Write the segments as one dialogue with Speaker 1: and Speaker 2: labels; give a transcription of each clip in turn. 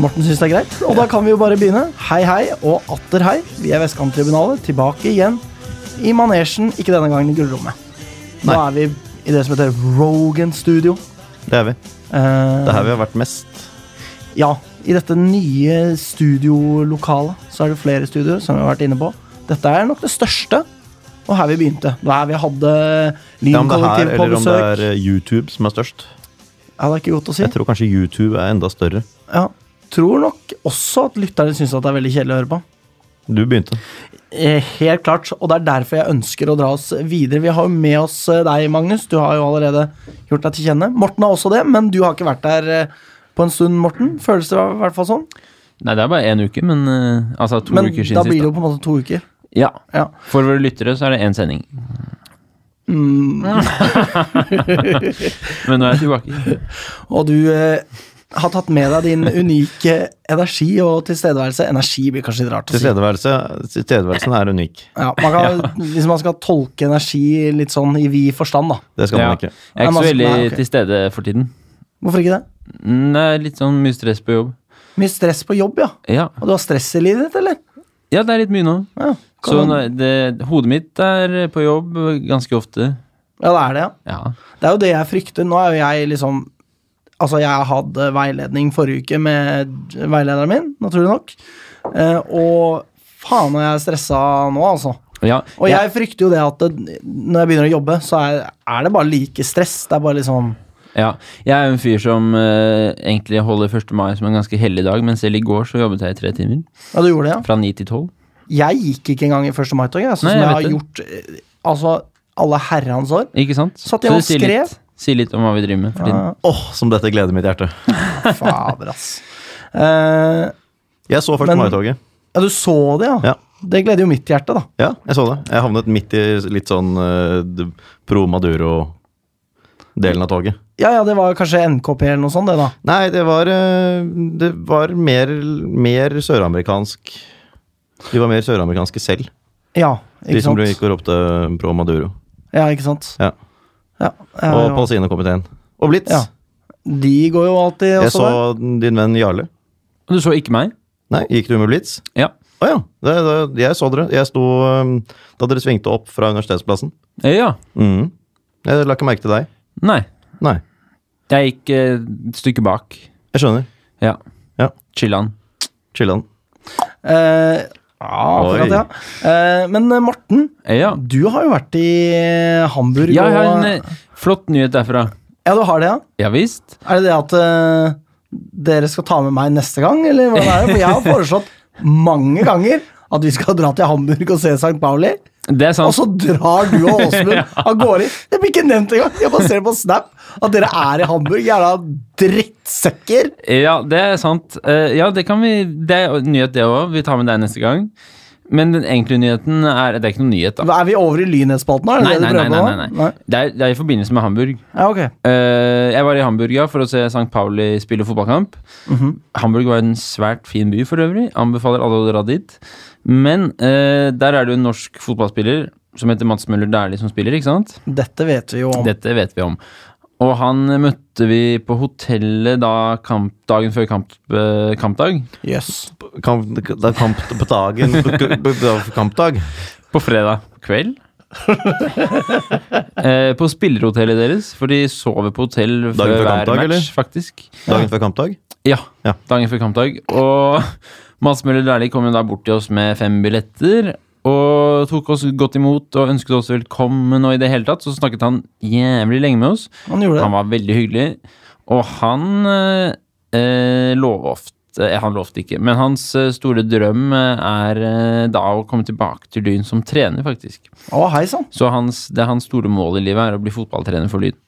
Speaker 1: Morten syns det er greit. Og da kan vi jo bare begynne. Hei, hei, og atter hei. Vi er Vestkanttribunalet, tilbake igjen i manesjen, ikke denne gangen i gullrommet. Nå
Speaker 2: Nei.
Speaker 1: er vi i det som heter Rogan Studio.
Speaker 2: Det er vi.
Speaker 1: Eh,
Speaker 2: Det er her vi har vært mest.
Speaker 1: Ja, i dette nye studiolokalet så er det flere studioer som vi har vært inne på. Dette er nok det største, og her vi begynte. Det var her vi hadde
Speaker 2: Ja,
Speaker 1: Lyn
Speaker 2: om det er her,
Speaker 1: kollektiv på
Speaker 2: eller om det
Speaker 1: besøk.
Speaker 2: er eh, YouTube som er størst.
Speaker 1: Ja, det er ikke godt å si.
Speaker 2: Jeg tror kanskje YouTube er enda større.
Speaker 1: Ja, tror nok også at lytterne syns at det er veldig kjedelig å høre på.
Speaker 2: Du begynte.
Speaker 1: Eh, Helt klart, og det er derfor jeg ønsker å dra oss videre. Vi har jo med oss eh, deg, Magnus. Du har jo allerede gjort deg til kjenne. Morten har også det, men du har ikke vært der eh, på en stund, Morten. Føles det i hvert fall sånn?
Speaker 3: Nei, det er bare én uke, men eh, altså to
Speaker 1: Men
Speaker 3: uker
Speaker 1: da
Speaker 3: siden
Speaker 1: blir det
Speaker 3: sist.
Speaker 1: jo på en måte to uker.
Speaker 3: da. Ja.
Speaker 1: Ja.
Speaker 3: For våre lyttere så er det én sending.
Speaker 1: Mm.
Speaker 3: men nå er jeg tilbake.
Speaker 1: Og du eh, har tatt med deg din unike energi og tilstedeværelse. Energi blir kanskje litt rart å si.
Speaker 2: Tilstedeværelse, tilstedeværelsen er unik.
Speaker 1: Ja, man kan, Hvis man skal tolke energi litt sånn i vid forstand, da.
Speaker 2: Det skal
Speaker 3: Ja.
Speaker 2: man
Speaker 3: Jeg
Speaker 2: ikke.
Speaker 3: er ikke
Speaker 1: Nei,
Speaker 3: så
Speaker 1: men altså,
Speaker 3: veldig
Speaker 1: nei, ok.
Speaker 3: til stede for tiden.
Speaker 1: Hvorfor ikke det?
Speaker 3: Mm, Det er litt sånn mye stress på jobb.
Speaker 1: Mye stress på jobb, ja.
Speaker 3: Ja,
Speaker 1: Og du har stress i livet ditt, eller?
Speaker 3: ja det er litt mye nå.
Speaker 1: Ja,
Speaker 3: Så
Speaker 1: kan-
Speaker 3: nå- det, hodet mitt er på jobb ganske ofte.
Speaker 1: ja, det er det, ja.
Speaker 3: Ja.
Speaker 1: Det er jo det jeg frykter. Nå er jo jeg liksom Altså, jeg hadde veiledning forrige uke med veilederen min, naturlig nok. Eh, og faen, er jeg stressa nå, altså.
Speaker 3: ja.
Speaker 1: Og
Speaker 3: ja.
Speaker 1: jeg frykter jo det at det, når jeg begynner å jobbe, så er, er det bare like stress. Det er bare liksom
Speaker 3: Ja, jeg er jo en fyr som eh, egentlig holder 1. mai som en ganske hellig dag, men selv i går så jobbet jeg i tre timer.
Speaker 1: Ja, du gjorde det, ja.
Speaker 3: Fra ni til tolv.
Speaker 1: Jeg gikk ikke engang i 1. mai-toget, altså, som
Speaker 3: Nei,
Speaker 1: jeg,
Speaker 3: jeg
Speaker 1: har gjort eh, altså, alle herrens år.
Speaker 3: Ikke sant?
Speaker 1: Satt jeg og
Speaker 3: sier
Speaker 1: skrev?
Speaker 3: litt, sier litt om hva vi driver med for tiden.
Speaker 1: Ja,
Speaker 2: Åh, som dette gleder mitt hjerte.
Speaker 1: fader, ass. Eh,
Speaker 2: Jeg så først
Speaker 1: Men-
Speaker 2: Maitoget.
Speaker 1: ja, du så det, ja.
Speaker 2: Ja.
Speaker 1: Det gleder jo mitt hjerte, da.
Speaker 2: Ja, jeg så det. Jeg havnet midt i litt sånn eh, d- pro Maduro-delen av toget.
Speaker 1: Ja, ja, det var kanskje NKP eller noe sånt, det, da.
Speaker 2: Nei, det var, eh, det var mer, mer søramerikansk De var mer søramerikanske selv,
Speaker 1: Ja,
Speaker 2: de
Speaker 1: ikke
Speaker 2: som
Speaker 1: sant.
Speaker 2: gikk og ropte pro Maduro.
Speaker 1: Ja, ikke sant.
Speaker 2: Ja.
Speaker 1: Ja, ja,
Speaker 2: Og
Speaker 1: ja.
Speaker 2: Palestina-komiteen. Og Blitz.
Speaker 1: Ja, De går jo alltid
Speaker 2: jeg
Speaker 1: også
Speaker 2: så
Speaker 1: der.
Speaker 2: din venn Jarle.
Speaker 3: Og du så ikke meg?
Speaker 2: Nei, gikk du med Blitz?
Speaker 3: Ja.
Speaker 2: Å ja. Det, det, jeg så dere. Jeg sto eh, da dere svingte opp fra Universitetsplassen.
Speaker 3: Eh, Ja.
Speaker 2: Mhm. Jeg la ikke merke til deg.
Speaker 3: Nei.
Speaker 2: Nei.
Speaker 3: Jeg gikk eh, et stykke bak.
Speaker 2: Jeg skjønner.
Speaker 3: Ja.
Speaker 2: Ja.
Speaker 3: Chilla'n.
Speaker 2: Chillan.
Speaker 1: Eh, ja, akkurat, ja. Eh, men eh, Morten,
Speaker 3: Eh, Ja.
Speaker 1: du har jo vært i eh, Hamburg
Speaker 3: Jeg har
Speaker 1: og
Speaker 3: en eh, flott nyhet derfra.
Speaker 1: Ja, du har det, ja?
Speaker 3: Ja visst.
Speaker 1: Er det det at eh, dere skal ta med meg neste gang, eller hvordan er det? For jeg har foreslått mange ganger at vi skal dra til Hamburg og se St. Pauli,
Speaker 3: Det er
Speaker 1: og
Speaker 3: sant.
Speaker 1: så drar du og Åsmund av gårde. Det blir ikke nevnt engang! Jeg bare ser det på Snap at dere er i Hamburg, jævla drittsekker!
Speaker 3: Ja, det er sant. Eh, Ja, det kan vi Det er nyhet, det òg. Vi tar med deg neste gang. Men den egentlige nyheten er Det er ikke noen nyhet, da.
Speaker 1: Er vi over i lynhetsspalten nå? Er
Speaker 3: Nei,
Speaker 1: det det
Speaker 3: nei,
Speaker 1: du
Speaker 3: nei.
Speaker 1: prøver
Speaker 3: nei,
Speaker 1: på
Speaker 3: nei, nei. Det, er, det er i forbindelse med Hamburg.
Speaker 1: Ja, ok.
Speaker 3: Eh, jeg var i Hamburg ja, for å se St. Pauli spille fotballkamp.
Speaker 2: Mhm.
Speaker 3: Hamburg var en svært fin by for øvrig. Anbefaler alle å dra dit. Men eh, der er det jo en norsk fotballspiller som heter Mats Møller Dæhlie som spiller, ikke sant?
Speaker 1: Dette vet vi jo om.
Speaker 3: Dette vet vi om. Og han møtte vi på hotellet da kamp, dagen før kamp, eh, kampdag.
Speaker 1: Jøss.
Speaker 2: Kamp, det er kamp på dagen på, på, på kampdag.
Speaker 3: På fredag kveld. eh, på spillerhotellet deres, for de sover på hotell før
Speaker 2: Dagen før
Speaker 3: hver
Speaker 2: kampdag,
Speaker 3: match,
Speaker 2: eller?
Speaker 3: faktisk.
Speaker 2: Dagen før kampdag.
Speaker 3: Ja,
Speaker 2: Ja.
Speaker 3: dagen før kampdag. Og Mads Møller Dæhlie kom jo da bort til oss med fem billetter. Og tok oss godt imot og ønsket oss velkommen og i det hele tatt. Så snakket han jævlig lenge med oss.
Speaker 1: Han gjorde
Speaker 3: Han
Speaker 1: det.
Speaker 3: var veldig hyggelig. Og han eh, eh, lovte eh, Han lovte ikke, men hans eh, store drøm eh, er eh, da å komme tilbake til Lyn som trener, faktisk.
Speaker 1: Å, hei sann.
Speaker 3: Så hans, det er hans store mål i livet er å bli fotballtrener for Lyn.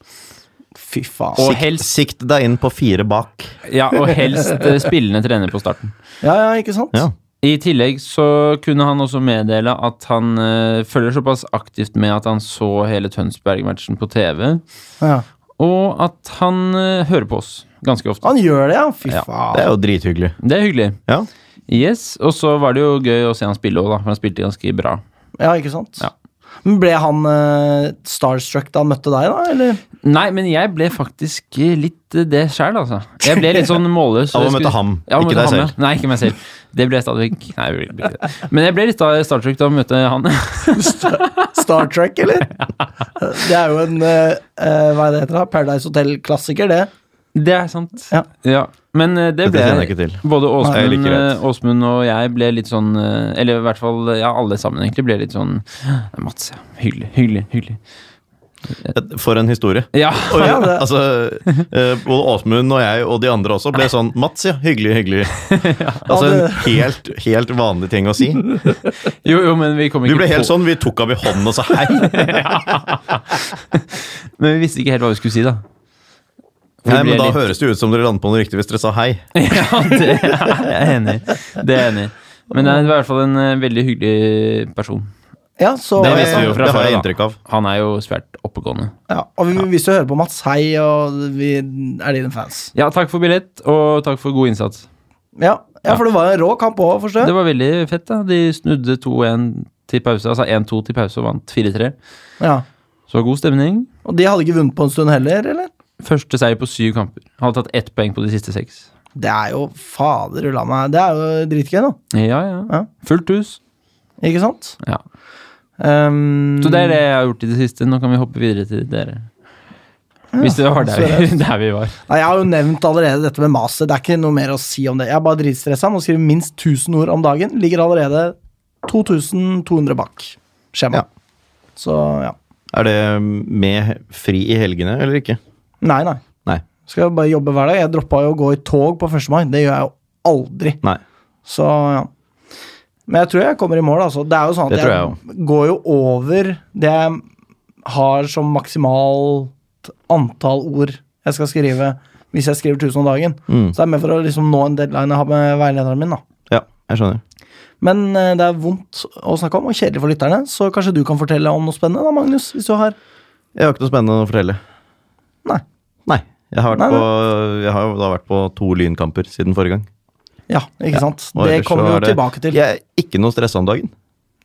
Speaker 1: Fy faen.
Speaker 3: Og
Speaker 2: Sikt,
Speaker 3: helst,
Speaker 2: sikt deg inn på fire bak.
Speaker 3: ja, og helst eh, spillende trener på starten.
Speaker 1: Ja, ja, ikke sant?
Speaker 2: Ja.
Speaker 3: I tillegg så kunne han også meddele at han eh, følger såpass aktivt med at han så hele Tønsberg-matchen på TV,
Speaker 1: Ja.
Speaker 3: og at han eh, hører på oss ganske ofte.
Speaker 1: Han gjør det, ja. Fy
Speaker 3: Ja,
Speaker 1: faen.
Speaker 2: Det er jo drithyggelig.
Speaker 3: Det er hyggelig.
Speaker 2: Ja.
Speaker 3: Yes, og så var det jo gøy å se han spille òg, da, for han spilte ganske bra.
Speaker 1: Ja, ikke sant?
Speaker 3: Ja.
Speaker 1: Men ble han eh, starstruck da han møtte deg, da? Eller?
Speaker 3: Nei, men jeg ble faktisk litt eh, det sjæl, altså. Jeg ble litt sånn målløs.
Speaker 2: Av å
Speaker 3: Jeg
Speaker 2: møte
Speaker 3: skulle-
Speaker 2: ham,
Speaker 3: Ja,
Speaker 2: ikke
Speaker 3: møte
Speaker 2: deg
Speaker 3: ham, ja.
Speaker 2: selv.
Speaker 3: Nei, ikke meg selv. Det ble jeg stadig vekk. Nei, jeg ble ikke det. Men jeg ble litt av Star Trek da å møte han.
Speaker 1: Star Trek, eller? Det er jo en eh, eh, Hva er det heter da? Paradise Hotel-klassiker, det.
Speaker 3: Det er sant.
Speaker 1: Ja.
Speaker 3: Men eh, det
Speaker 2: Dette
Speaker 3: ble
Speaker 2: kjenner jeg ikke til.
Speaker 3: Både
Speaker 2: Nei, jeg
Speaker 3: Åsmund,
Speaker 2: liker det.
Speaker 3: eh, Åsmund og jeg ble litt sånn eh, Eller i hvert fall ja, alle sammen egentlig ble litt sånn «Ja, Mats, ja. Hyggelig, hyggelig, hyggelig.
Speaker 2: For en historie.
Speaker 3: Ja.
Speaker 2: Og,
Speaker 1: Ja, det-
Speaker 2: altså, eh, både Åsmund og jeg og de andre også ble sånn Mats, ja. Hyggelig, hyggelig. Altså en helt, helt vanlig ting å si.
Speaker 3: Jo, jo, men vi kom
Speaker 2: Vi
Speaker 3: ikke
Speaker 2: ble helt
Speaker 3: på
Speaker 2: sånn, vi tok av i hånden og sa hei.
Speaker 3: Men vi visste ikke helt hva vi skulle si, da. Vi
Speaker 2: Nei,
Speaker 3: ble
Speaker 2: men da
Speaker 3: litt-
Speaker 2: høres det ut som dere lander på noe riktig hvis dere sa hei.
Speaker 3: Ja, det er jeg enig i. Det er jeg enig i. Men det er i hvert fall en eh, veldig hyggelig person.
Speaker 1: Ja, så,
Speaker 3: Det
Speaker 2: har
Speaker 3: visste vi
Speaker 2: jeg-
Speaker 3: jo fra
Speaker 2: det har
Speaker 3: før,
Speaker 2: jeg
Speaker 3: da.
Speaker 2: inntrykk av.
Speaker 3: Han er jo svært oppegående.
Speaker 1: ja, og vi, hvis du hører på Mats Hei, og vi er dine fans.
Speaker 3: Ja, takk for billett, og takk for god innsats.
Speaker 1: Ja, ja for det var en rå kamp òg, forstår
Speaker 3: Det
Speaker 1: jeg.
Speaker 3: var veldig fett, da. De snudde 2-1 til pause, altså 1-2 til pause og vant 4-3.
Speaker 1: Ja.
Speaker 3: Så god stemning.
Speaker 1: Og de hadde ikke vunnet på en stund heller, eller?
Speaker 3: Første seier på syv kamper. Hadde tatt ett poeng på de siste seks.
Speaker 1: Det er jo fader ulla meg. Det er jo dritgøy, nå.
Speaker 3: Ja, ja.
Speaker 1: Ja.
Speaker 3: Fullt hus.
Speaker 1: Ikke sant?
Speaker 3: Ja.
Speaker 1: Um,
Speaker 3: Så det er det jeg har gjort i det siste. Nå kan vi hoppe videre til dere. Hvis det var der vi, der vi var.
Speaker 1: Nei, jeg har jo nevnt allerede dette med maset. Det er ikke noe mer å si om det. Jeg er bare dritstressa. Må skrive minst 1000 ord om dagen. Ligger allerede 2200 bak skjema.
Speaker 2: Ja.
Speaker 1: Så ja.
Speaker 2: Er det med fri i helgene eller ikke?
Speaker 1: Nei, nei.
Speaker 2: Nei.
Speaker 1: Skal jo bare jobbe hver dag. Jeg droppa jo å gå i tog på 1. mai. Det gjør jeg jo aldri.
Speaker 2: Nei.
Speaker 1: Så ja. Men jeg tror jeg kommer i mål, altså. Det er jo sånn at
Speaker 2: Det tror
Speaker 1: jeg, går jo over det jeg har som maksimalt antall ord jeg skal skrive hvis jeg skriver 1000 om dagen.
Speaker 2: Mm.
Speaker 1: Så det er mer for å liksom nå en deadline jeg har med veilederen min, da.
Speaker 2: Ja, jeg skjønner.
Speaker 1: Men eh, det er vondt å snakke om, og kjedelig for lytterne, så kanskje du kan fortelle om noe spennende, da, Magnus? Hvis du har
Speaker 2: Jeg har ikke noe spennende å fortelle.
Speaker 1: Nei.
Speaker 2: Nei. Jeg har, vært
Speaker 1: Nei, nei.
Speaker 2: På, jeg har jo da vært på to lynkamper siden forrige gang.
Speaker 1: Ja, ikke sant?
Speaker 2: Og
Speaker 1: Det
Speaker 2: ellers
Speaker 1: kommer
Speaker 2: så
Speaker 1: vi jo
Speaker 2: er det-
Speaker 1: tilbake til.
Speaker 2: Jeg er ikke noe stressa om dagen.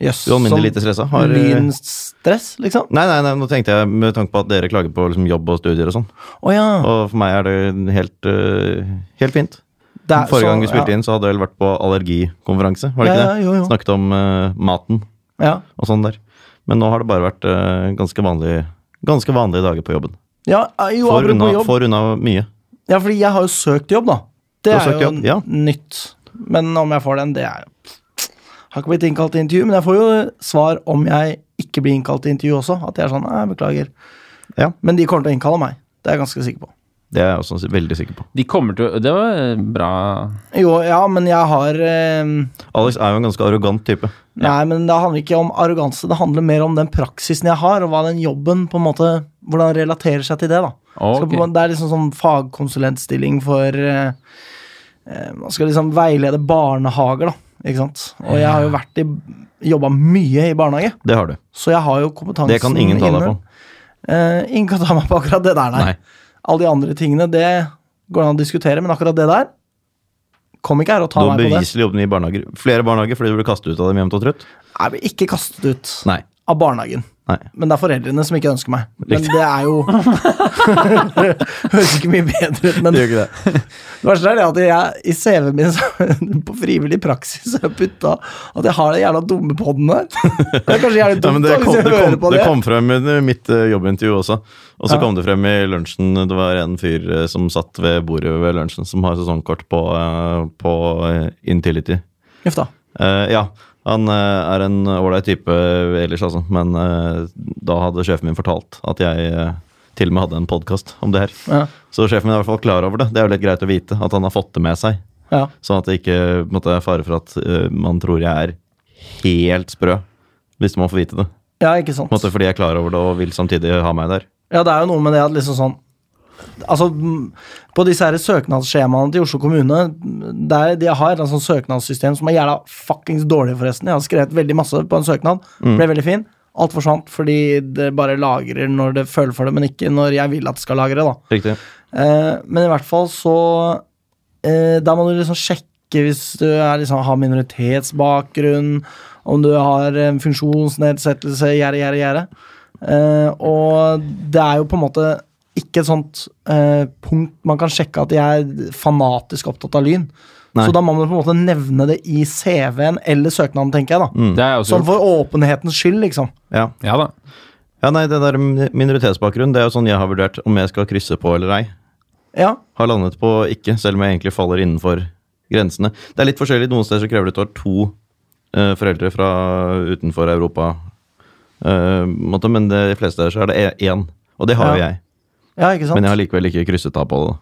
Speaker 1: Jøss.
Speaker 2: Ualminnelig lite
Speaker 1: sånn
Speaker 2: stressa. Har, eh,
Speaker 1: Lynstress, liksom?
Speaker 2: Nei, nei, nei, nå tenkte jeg med tanke på at dere klager på liksom, jobb og studier og sånn.
Speaker 1: Å ja.
Speaker 2: Og for meg er det helt, øh, helt fint.
Speaker 1: Det er
Speaker 2: Forrige gang vi
Speaker 1: sånn,
Speaker 2: spilte
Speaker 1: ja.
Speaker 2: inn, så hadde jeg vel vært på allergikonferanse. Var det
Speaker 1: Ja, ja,
Speaker 2: ikke det?
Speaker 1: jo, jo.
Speaker 2: Snakket om øh, maten
Speaker 1: Ja.
Speaker 2: og sånn der. Men nå har det bare vært øh, ganske, vanlige, ganske vanlige dager på jobben.
Speaker 1: Ja, eh, jo,
Speaker 2: Får
Speaker 1: apropos
Speaker 2: unna,
Speaker 1: jobb.
Speaker 2: får unna mye.
Speaker 1: Ja, fordi jeg har jo søkt jobb, da. Det
Speaker 2: Du har
Speaker 1: er
Speaker 2: søkt
Speaker 1: jo
Speaker 2: jobb, ja.
Speaker 1: nytt. Men om jeg får den, det er jo Har ikke blitt innkalt til intervju, men jeg får jo svar om jeg ikke blir innkalt til intervju også. At jeg er sånn Nei, jeg beklager.
Speaker 2: Ja.
Speaker 1: Men de kommer til å innkalle meg. Det er jeg ganske sikker på.
Speaker 2: Det er jeg også veldig sikker på.
Speaker 3: De kommer til å Det var eh, bra
Speaker 1: Jo, ja, men jeg har eh,
Speaker 2: Alex er jo en ganske arrogant type.
Speaker 1: Nei, men det handler ikke om arroganse. Det handler mer om den praksisen jeg har, og hva den jobben på en måte, hvordan relaterer seg til det. da.
Speaker 3: Å,
Speaker 1: Skal på en
Speaker 3: ok.
Speaker 1: måte- det er liksom sånn fagkonsulentstilling for eh, eh, Man skal liksom veilede barnehager, da. Ikke sant? Og jeg har jo vært i jobba mye i barnehage,
Speaker 2: Det har du.
Speaker 1: så jeg har jo kompetansen
Speaker 2: Det kan ingen ta deg på.
Speaker 1: Eh, ingen kan ta meg på akkurat det der, nei.
Speaker 2: Nei.
Speaker 1: Alle de andre tingene, det går an å diskutere, men akkurat det der Kom ikke her og ta
Speaker 2: Du har
Speaker 1: meg på det.
Speaker 2: beviselig jobbet i barnehager. Flere barnehager fordi du ble kastet ut av dem jevnt og trutt?
Speaker 1: Jeg blir ikke kastet ut
Speaker 2: Nei.
Speaker 1: av barnehagen.
Speaker 2: Nei.
Speaker 1: Men det er foreldrene som ikke ønsker meg. Men
Speaker 2: Riktig.
Speaker 1: det er jo Høres ikke mye bedre ut, men det
Speaker 2: ikke det.
Speaker 1: verste er det at jeg i CV-en min så- på frivillig praksis har putta at jeg har den jævla dumme podden her. Det er kanskje jævlig
Speaker 2: Ja, men
Speaker 1: dumt
Speaker 2: det,
Speaker 1: da,
Speaker 2: kom,
Speaker 1: hvis jeg
Speaker 2: det,
Speaker 1: hører
Speaker 2: kom,
Speaker 1: på
Speaker 2: det
Speaker 1: det.
Speaker 2: kom frem i mitt eh, jobbintervju også. Og så
Speaker 1: Ja.
Speaker 2: kom det frem i lunsjen. Det var en fyr eh, som satt ved bordet ved lunsjen, som har sesongkort på, eh, på eh, Intility.
Speaker 1: Uff da.
Speaker 2: Eh, ja, han eh, er en ålreit type ellers, altså. Men eh, da hadde sjefen min fortalt at jeg eh, til og med hadde en podkast om det her.
Speaker 1: Ja,
Speaker 2: Så sjefen min er i hvert fall klar over det. Det er jo litt greit å vite at han har fått det med seg.
Speaker 1: ja.
Speaker 2: Sånn at det ikke på en måte, er fare for at eh, man tror jeg er helt sprø, hvis man får vite det.
Speaker 1: ja ikke sant.
Speaker 2: På en måte fordi jeg er klar over det og vil samtidig ha meg der.
Speaker 1: Ja, det er jo noe med det at liksom sånn Altså, m, på disse her søknadsskjemaene til Oslo kommune der De har et eller annet sånn søknadssystem som er jævla fuckings dårlig, forresten. Jeg har skrevet veldig masse på en søknad.
Speaker 2: Mm.
Speaker 1: Ble veldig fin. Alt forsvant fordi det bare lagrer når det føler for det, men ikke når jeg vil at det skal lagre, da.
Speaker 2: Riktig.
Speaker 1: Eh, men i hvert fall så eh, Da må du liksom sjekke hvis du er, liksom, har minoritetsbakgrunn, om du har en funksjonsnedsettelse, gjerde, gjerde, gjerde. Eh, og det Eh, er jo på en måte ikke et sånt eh, punkt man kan sjekke at de er fanatisk opptatt av Lyn.
Speaker 2: Nei.
Speaker 1: Så da må man på en måte nevne det i CV-en eller søknaden, tenker jeg.
Speaker 2: Mm.
Speaker 1: da.
Speaker 3: Det er jeg også
Speaker 1: Sånn
Speaker 3: gjort.
Speaker 1: for åpenhetens skyld, liksom.
Speaker 2: Ja.
Speaker 3: Ja da.
Speaker 2: ja, nei, det der min- minoritetsbakgrunn, det er jo sånn jeg har vurdert om jeg skal krysse på eller ei.
Speaker 1: Ja,
Speaker 2: Har landet på ikke, selv om jeg egentlig faller innenfor grensene. Det er litt forskjellig. Noen steder så krever det at du har to eh, foreldre fra utenfor Europa, eh, måte, men det- de fleste steder så er det e- én. Og det har jo
Speaker 1: Ja.
Speaker 2: jeg,
Speaker 1: ja ikke sant?
Speaker 2: men jeg har likevel ikke krysset av på det.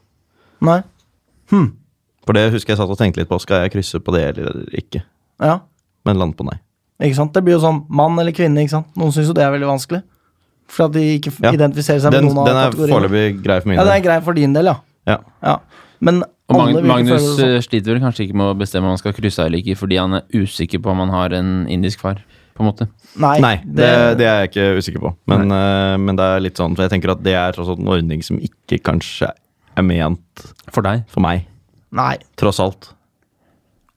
Speaker 1: Nei.
Speaker 2: For det husker jeg satt og tenkte litt på. Skal jeg krysse på det eller ikke?
Speaker 1: Ja,
Speaker 2: Men land på nei.
Speaker 1: ikke sant? Det blir jo sånn mann eller kvinne. ikke sant? Noen syns jo det er veldig vanskelig. For at de ikke f-
Speaker 2: Ja.
Speaker 1: identifiserer seg med
Speaker 2: Den,
Speaker 1: noen av
Speaker 2: den er
Speaker 1: kategoriene.
Speaker 2: foreløpig grei for min
Speaker 1: Ja, det er
Speaker 2: del.
Speaker 1: grei for din del, ja.
Speaker 2: Ja.
Speaker 1: ja. Men
Speaker 3: Og Mag-
Speaker 1: alle vil ikke
Speaker 3: Magnus
Speaker 1: føle det sånn.
Speaker 3: eh, sliter vel kanskje ikke med å bestemme om han skal krysse av eller ikke, fordi han er usikker på om han har en indisk far, på en måte.
Speaker 1: Nei,
Speaker 2: Nei, det, det er jeg ikke usikker på. Men, eh, men det er litt sånn, for jeg tenker at det er tross alt en ordning som ikke kanskje er ment
Speaker 3: For deg.
Speaker 2: for meg.
Speaker 1: nei
Speaker 2: Tross alt.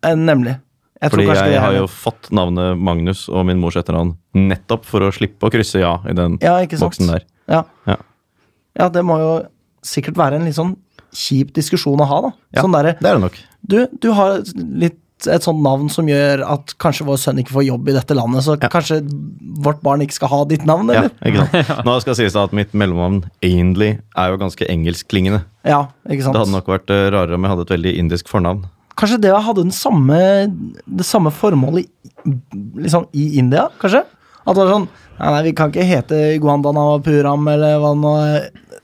Speaker 1: eh, nemlig. Jeg
Speaker 2: Fordi
Speaker 1: tror kanskje
Speaker 2: jeg
Speaker 1: det
Speaker 2: har
Speaker 1: er
Speaker 2: jo fått navnet Magnus og min mors etternavn nettopp for å slippe å krysse ja i den
Speaker 1: ja, ikke sant?
Speaker 2: boksen der.
Speaker 1: Ja.
Speaker 2: Ja.
Speaker 1: ja, det må jo sikkert være en litt sånn kjip diskusjon å ha, da.
Speaker 2: Ja,
Speaker 1: Sånn derre
Speaker 2: Det er det nok.
Speaker 1: Du, du har et litt et sånt navn som gjør at kanskje vår sønn ikke får jobb i dette landet, så kanskje vårt barn ikke skal ha ditt navn,
Speaker 2: Ja,
Speaker 1: eller?
Speaker 2: ikke sant? Nå skal det sies da at mitt mellomnavn Ainley er jo ganske engelskklingende.
Speaker 1: Ja, ikke sant?
Speaker 2: Det hadde nok vært eh, rarere om jeg hadde et veldig indisk fornavn.
Speaker 1: Kanskje det hadde den samme, det samme formålet i- liksom, i India, kanskje? At det var sånn Nei, nei, vi kan ikke hete Guandanapuram eller hva nå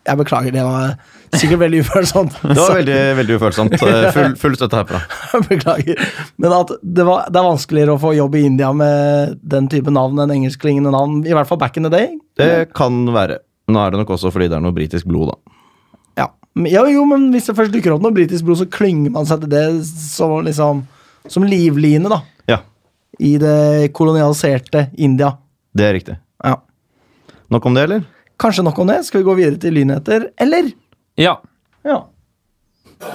Speaker 1: Jeg beklager, det var sikkert veldig ufølsomt.
Speaker 2: Det var veldig, veldig ufølsomt. Eh, Full, full støtte herfra.
Speaker 1: Så, beklager. Men at det, var, det er vanskeligere å få jobb i India med den type navn enn engelskklingende navn, i hvert fall back in the day.
Speaker 2: Det kan være. Nå er det nok også fordi det er noe britisk blod, da.
Speaker 1: Ja. Men- Jo, jo, men hvis det først dukker opp noe britisk blod, så klynger man seg til det som, liksom, som livline, da.
Speaker 2: Ja,
Speaker 1: I det kolonialiserte India.
Speaker 2: det er riktig.
Speaker 1: Ja.
Speaker 2: Nok om det, eller?
Speaker 1: Kanskje nok om det. Skal vi gå videre til lynheter, eller?
Speaker 3: Ja.
Speaker 1: Ja.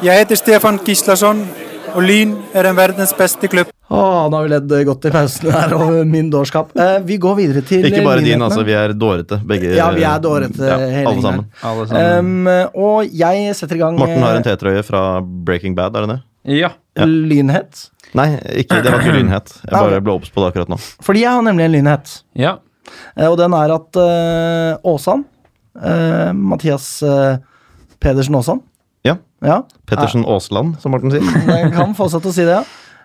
Speaker 4: Jeg heter Stefan Gislason, og Lyn er um en verdens beste klubb.
Speaker 1: Åh, nå har vi ledd godt i pausen her over min dårskap. Eh, vi går videre til
Speaker 2: Ikke bare din,
Speaker 1: lynhetene.
Speaker 2: altså. Vi er dårete, begge.
Speaker 1: Ja, vi er dårete,
Speaker 2: ja,
Speaker 1: hele
Speaker 2: alle
Speaker 1: gjengen.
Speaker 2: sammen.
Speaker 3: Alle sammen.
Speaker 1: Um, og jeg setter i gang
Speaker 2: Morten har en
Speaker 1: eh,
Speaker 2: T-trøye fra Breaking Bad, er det det?
Speaker 3: ja.
Speaker 1: lynhet.
Speaker 2: Nei, ikke, det var ikke lynhet. Jeg
Speaker 1: Nei,
Speaker 2: bare
Speaker 1: ok.
Speaker 2: ble obs på det akkurat nå.
Speaker 1: Fordi jeg har nemlig en lynhet.
Speaker 3: Ja.
Speaker 1: Eh, og den er at eh, Åsan, eh, Mathias eh, Pedersen Åsan,
Speaker 2: Ja.
Speaker 1: ja,
Speaker 2: Pettersen Aasland, som Morten sier.
Speaker 1: den kan fortsette å si det, ja.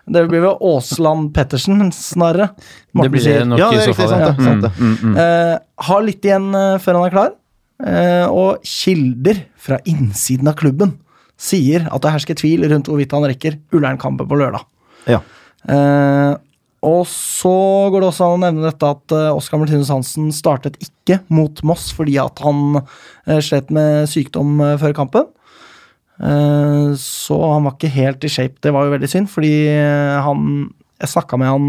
Speaker 1: Det blir vel Åsland Pettersen, snarere.
Speaker 3: Det
Speaker 1: Morten
Speaker 3: blir
Speaker 1: sier.
Speaker 3: det nok
Speaker 2: Ja, det
Speaker 3: i
Speaker 2: er
Speaker 3: så
Speaker 2: riktig.
Speaker 3: fall.
Speaker 2: Sant
Speaker 3: ja.
Speaker 2: det. Mm, Sant det.
Speaker 1: Eh, har litt igjen eh, før han er klar. Eh, og kilder fra innsiden av klubben sier at det hersker tvil rundt hvorvidt han rekker Ullern-kampen på lørdag.
Speaker 3: Mm.
Speaker 2: Ja.
Speaker 1: Eh, og så går det også an å nevne dette at eh, Oskar Martinus Hansen startet ikke mot Moss fordi at han eh, slet med sykdom eh, før kampen. Eh, så han var ikke helt i shape. Det var jo veldig synd, fordi eh, han Jeg snakka med han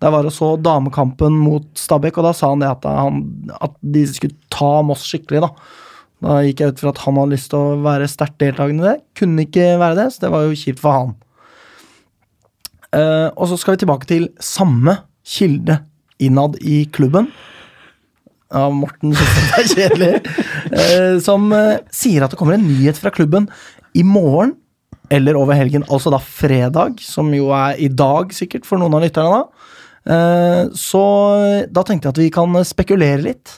Speaker 1: da jeg var og så damekampen mot Stabæk, og da sa han det at, han, at de skulle ta Moss skikkelig, da. Da gikk jeg ut fra at han hadde lyst til å være sterkt deltakende i det. Kunne ikke være det, så det var jo kjipt for han. Eh, og så skal vi tilbake til samme kilde innad i klubben. Ja, Morten synes det er kjedelig. Eh, som eh, sier at det kommer en nyhet fra klubben i morgen eller over helgen, altså da fredag, som jo er i dag sikkert for noen av lytterne da. Eh, så da tenkte jeg at vi kan spekulere litt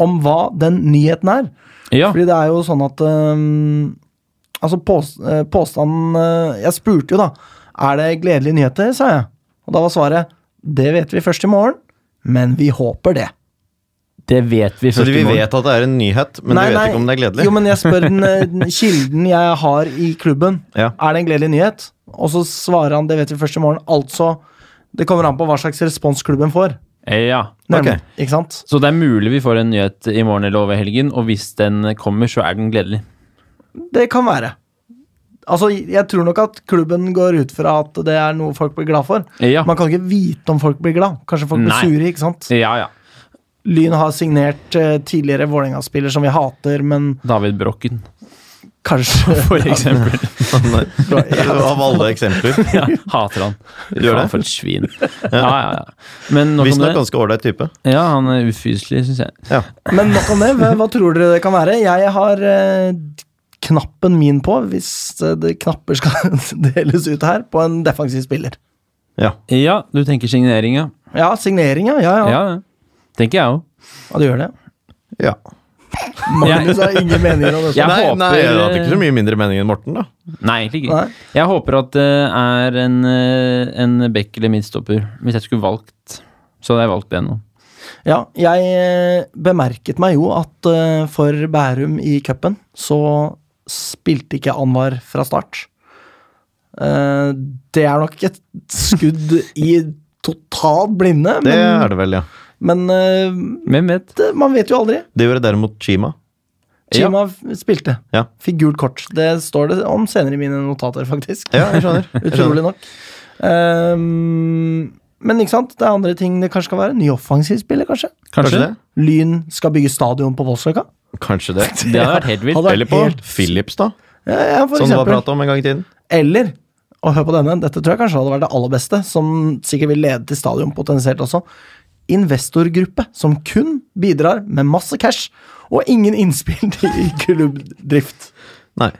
Speaker 1: om hva den nyheten er.
Speaker 3: Ja.
Speaker 1: Fordi det er jo sånn at øhm, Altså, pås eh, påstanden eh, Jeg spurte jo, da. Er det gledelige nyheter, sa jeg. Og da var svaret Det vet vi først i morgen, men vi håper det.
Speaker 3: Det vet vi
Speaker 2: Så vi vet at det er en nyhet, men vi vet ikke om det er gledelig.
Speaker 1: Jo, men jeg spør den eh, den kilden jeg har i klubben.
Speaker 2: Ja.
Speaker 1: Er det en gledelig nyhet? Og så svarer han det vet vi først i morgen. Altså, det kommer an på hva slags respons klubben får.
Speaker 3: Ja.
Speaker 1: Nemlig,
Speaker 2: Ok.
Speaker 1: Ikke sant?
Speaker 3: Så det er mulig vi får en nyhet i morgen eller over helgen, og hvis den kommer, så er den gledelig.
Speaker 1: Det kan være. Altså, jeg tror nok at klubben går ut fra at det er noe folk blir glad for.
Speaker 3: Ja.
Speaker 1: Man kan ikke vite om folk blir glad. Kanskje folk blir
Speaker 3: Nei.
Speaker 1: sure. ikke sant?
Speaker 3: Ja, ja.
Speaker 1: Lyn har signert eh, tidligere Vålerenga-spiller som vi hater, men
Speaker 3: David Brokken.
Speaker 1: Kanskje.
Speaker 3: for eksempel.
Speaker 2: Sånn, eh, Av alle eksempler.
Speaker 3: Ja, hater han.
Speaker 2: Gjør
Speaker 3: Faen,
Speaker 2: det?
Speaker 3: For et svin. Ja, ja, ja. Men nok om
Speaker 2: Visstnok
Speaker 3: det.
Speaker 2: ganske ålreit type.
Speaker 3: Ja, han er ufyselig, syns jeg.
Speaker 2: Ja.
Speaker 1: Men nok om det. Hva, hva tror dere det kan være? Jeg har eh, knappen min på, hvis eh, det knapper skal deles ut her, på en defensiv spiller.
Speaker 2: ja.
Speaker 3: Ja, du tenker signering, ja.
Speaker 1: Ja, signering, ja. Ja,
Speaker 3: Ja,
Speaker 1: ja.
Speaker 3: ja. Tenker jeg òg.
Speaker 1: ja du gjør det.
Speaker 2: ja.
Speaker 1: Magnus har ingen meninger om dette.
Speaker 3: Jeg
Speaker 2: nei,
Speaker 3: håper-
Speaker 2: nei, jeg hadde ikke så mye mindre mening enn Morten, da.
Speaker 3: Nei, egentlig ikke.
Speaker 1: Nei.
Speaker 3: Jeg håper at det er en, eh, en back eller midstopper. Hvis jeg skulle valgt, så hadde jeg valgt det nå.
Speaker 1: Ja, jeg eh, bemerket meg jo at eh, for Bærum i cupen så spilte ikke Anwar fra start. Eh, det er nok et skudd i totalt blinde,
Speaker 2: Det
Speaker 1: men,
Speaker 2: er det vel, ja.
Speaker 1: men eh,
Speaker 3: Hvem vet?
Speaker 1: det, man vet jo aldri.
Speaker 2: Det gjorde derimot Chima.
Speaker 1: Chima f- spilte.
Speaker 2: Ja.
Speaker 1: Fikk gult kort. Det står det om senere i mine notater, faktisk.
Speaker 2: Ja, jeg skjønner. Jeg skjønner.
Speaker 1: Utrolig nok. Ehm, men ikke sant, det er andre ting det kanskje skal være. Ny offensiv spiller, kanskje.
Speaker 2: Kanskje det?
Speaker 1: Lyn skal bygge stadion på Voldsløkka.
Speaker 2: Kanskje det.
Speaker 3: Det hadde vært helt vilt.
Speaker 1: Hadde vært
Speaker 2: Eller på
Speaker 1: helt-
Speaker 2: Philips, da.
Speaker 1: Ja, ja, for
Speaker 2: Som det var
Speaker 1: eksempel.
Speaker 2: prat om en gang i tiden.
Speaker 1: Eller, og hør på denne, dette tror jeg kanskje hadde vært det aller beste, som sikkert vil lede til stadion potensielt også. Investorgruppe som kun bidrar med masse cash og ingen innspill til klubbdrift.
Speaker 2: Nei.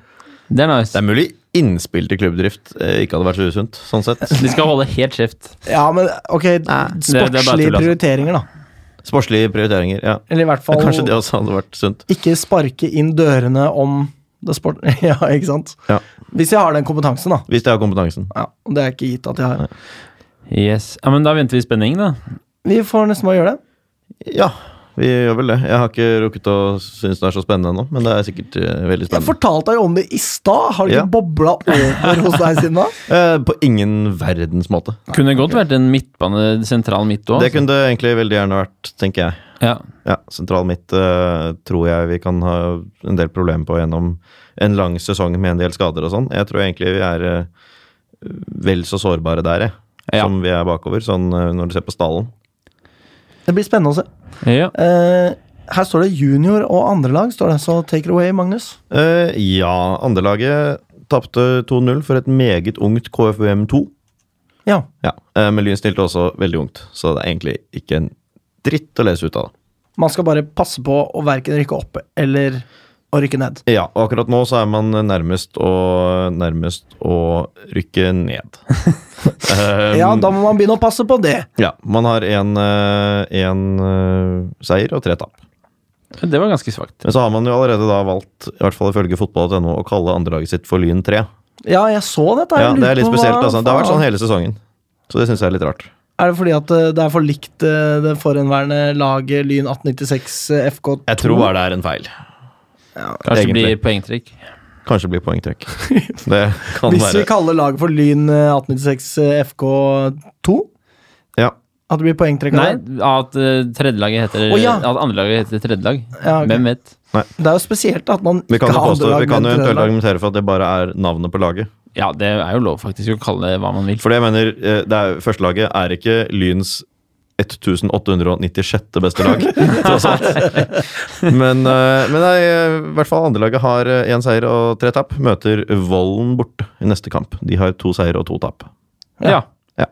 Speaker 3: Det
Speaker 2: Det
Speaker 3: er nice.
Speaker 2: er mulig innspill til klubbdrift eh, ikke hadde vært så usunt, sånn sett.
Speaker 3: De skal holde helt kjeft.
Speaker 1: Ja, men ok,
Speaker 3: det er bare
Speaker 1: sportslige
Speaker 3: tull, altså.
Speaker 1: prioriteringer, da.
Speaker 2: Sportslige prioriteringer, ja.
Speaker 1: Eller i hvert fall
Speaker 2: Kanskje det også hadde vært sunt.
Speaker 1: ikke sparke inn dørene om det sport... Ja, ikke sant?
Speaker 2: Ja.
Speaker 1: Hvis jeg har den kompetansen, da.
Speaker 2: Hvis de har kompetansen.
Speaker 1: Ja, og det er ikke gitt at jeg har.
Speaker 3: Yes. Ja, men da venter vi i spenning, da.
Speaker 1: Vi får nesten bare gjøre det.
Speaker 2: Ja, vi gjør vel det. Jeg har ikke rukket å synes det er så spennende ennå, men det er sikkert eh, veldig
Speaker 1: Jeg
Speaker 2: spennende.
Speaker 1: fortalte deg jo om det i stad. Har det ikke
Speaker 2: Ja.
Speaker 1: bobla over hos deg siden da?
Speaker 2: Eh, på ingen verdens måte.
Speaker 3: Kunne godt vært en midtbane sentral midt òg.
Speaker 2: Det kunne det egentlig veldig gjerne vært, tenker jeg.
Speaker 3: Ja.
Speaker 2: Ja, Sentral midt eh, tror jeg vi kan ha en del problemer på gjennom en lang sesong med en del skader og sånn. Jeg tror egentlig vi er eh, vel så sårbare der, jeg.
Speaker 3: Ja.
Speaker 2: Som vi er bakover, sånn eh, når du ser på stallen.
Speaker 1: Det blir spennende å se.
Speaker 3: ja.
Speaker 1: Eh, her står det junior og andrelag, står det. Så take it away, Magnus.
Speaker 2: Eh, ja, andrelaget tapte 2-0 for et meget ungt KFUM 2.
Speaker 1: Ja.
Speaker 2: Ja, eh, men Lyn stilte også veldig ungt, så det er egentlig ikke en dritt å lese ut av det.
Speaker 1: Man skal bare passe på å verken rykke opp eller å rykke ned.
Speaker 2: Ja, og akkurat nå så er man nærmest å, nærmest å rykke ned. Eh,
Speaker 1: Ja, da må man begynne å passe på det.
Speaker 2: ja, man har én eh, seier og tre tap.
Speaker 3: Det var ganske svakt.
Speaker 2: Men så har man jo allerede da valgt, i hvert fall ifølge fotball.no, å kalle andrelaget sitt for Lyn 3.
Speaker 1: Ja, jeg så dette. Jeg
Speaker 2: Ja, det
Speaker 1: lurer
Speaker 2: er litt
Speaker 1: på
Speaker 2: spesielt.
Speaker 1: hva
Speaker 2: Altså. Det har vært
Speaker 1: faen-
Speaker 2: sånn hele sesongen. Så det syns jeg er litt rart.
Speaker 1: Er det fordi at eh, det er for likt eh, det forhenværende laget Lyn 1896 eh, FK2?
Speaker 2: Jeg tror bare det er en feil.
Speaker 3: Kanskje det
Speaker 2: Egentlig.
Speaker 3: blir poengtrekk.
Speaker 2: Kanskje det blir poengtrekk. Sånn Det kan
Speaker 1: Hvis vi
Speaker 2: være
Speaker 1: kaller laget for Lyn eh, 1896 eh, FK2?
Speaker 2: Ja.
Speaker 1: At det blir poengtrekk av
Speaker 3: Nei,
Speaker 1: det?
Speaker 3: at uh, tredjelaget heter
Speaker 1: Å, ja.
Speaker 3: At andrelaget heter tredjelag.
Speaker 1: Ja, ok.
Speaker 3: Hvem vet?
Speaker 1: Det er jo spesielt at man
Speaker 2: Vi kan,
Speaker 1: ikke
Speaker 2: jo
Speaker 1: har
Speaker 2: påstå,
Speaker 1: andrelag,
Speaker 2: vi kan jo
Speaker 1: men
Speaker 2: eventuelt
Speaker 1: tredjelag.
Speaker 2: argumentere for at det bare er navnet på laget.
Speaker 3: Ja, det er jo lov faktisk å kalle det hva man vil.
Speaker 2: For det jeg mener, eh, det er, førstelaget er ikke Lyns 1896. beste lag, tross alt. Men, eh, men nei, eh, i hvert fall andrelaget har én seier og tre tap. Møter Vollen borte i neste kamp. De har to seier og to tap.
Speaker 3: Ja.
Speaker 2: Eh,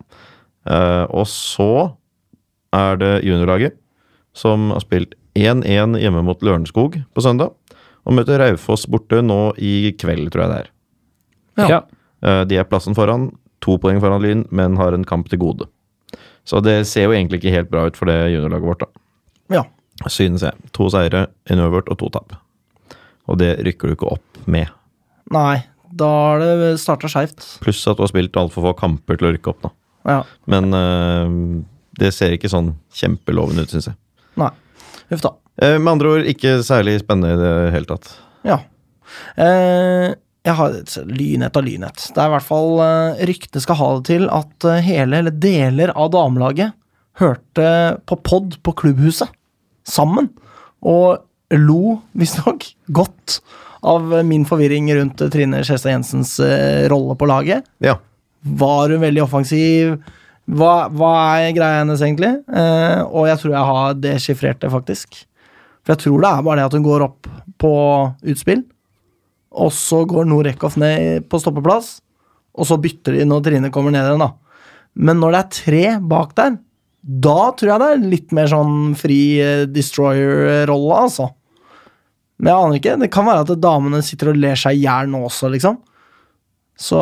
Speaker 2: Og så er det juniorlaget, som har spilt 1-1 hjemme mot Lørenskog på søndag. Og møter Raufoss borte nå i kveld, tror jeg det er.
Speaker 1: Ja.
Speaker 3: ja.
Speaker 2: Eh, De er plassen foran, to poeng foran Lyn, men har en kamp til gode. Så det ser jo egentlig ikke helt bra ut for det juniorlaget vårt, da.
Speaker 1: Ja.
Speaker 2: Synes jeg. To seire, en uavgjort og to tap. Og det rykker du ikke opp med.
Speaker 1: Nei, da har det starta skeivt.
Speaker 2: Pluss at du har spilt altfor få kamper til å rykke opp, da.
Speaker 1: Ja.
Speaker 2: Men eh, det ser ikke sånn kjempelovende ut, syns jeg.
Speaker 1: Nei. Huff da.
Speaker 2: Eh, med andre ord, ikke særlig spennende i det hele tatt.
Speaker 1: Ja. Eh, jeg har Lynhet av lynhet. Det er i hvert fall eh, Ryktene skal ha det til at eh, hele eller deler av damelaget hørte på pod på klubbhuset sammen. Og lo, visstnok, godt av eh, min forvirring rundt eh, Trine Skjestad Jensens eh, rolle på laget.
Speaker 2: Ja.
Speaker 1: Var hun veldig offensiv? Hva, hva er greia hennes, egentlig? Eh, og jeg tror jeg har deschiffrert det, faktisk. For jeg tror det er bare det at hun går opp på utspill, Og så går Norekov ned på stoppeplass, og så bytter de når Trine kommer ned igjen. da. Men når det er tre bak der, da tror jeg det er litt mer sånn fri eh, destroyer-rolle, altså. Men jeg aner ikke. Det kan være at damene sitter og ler seg i hjel nå også, liksom. Så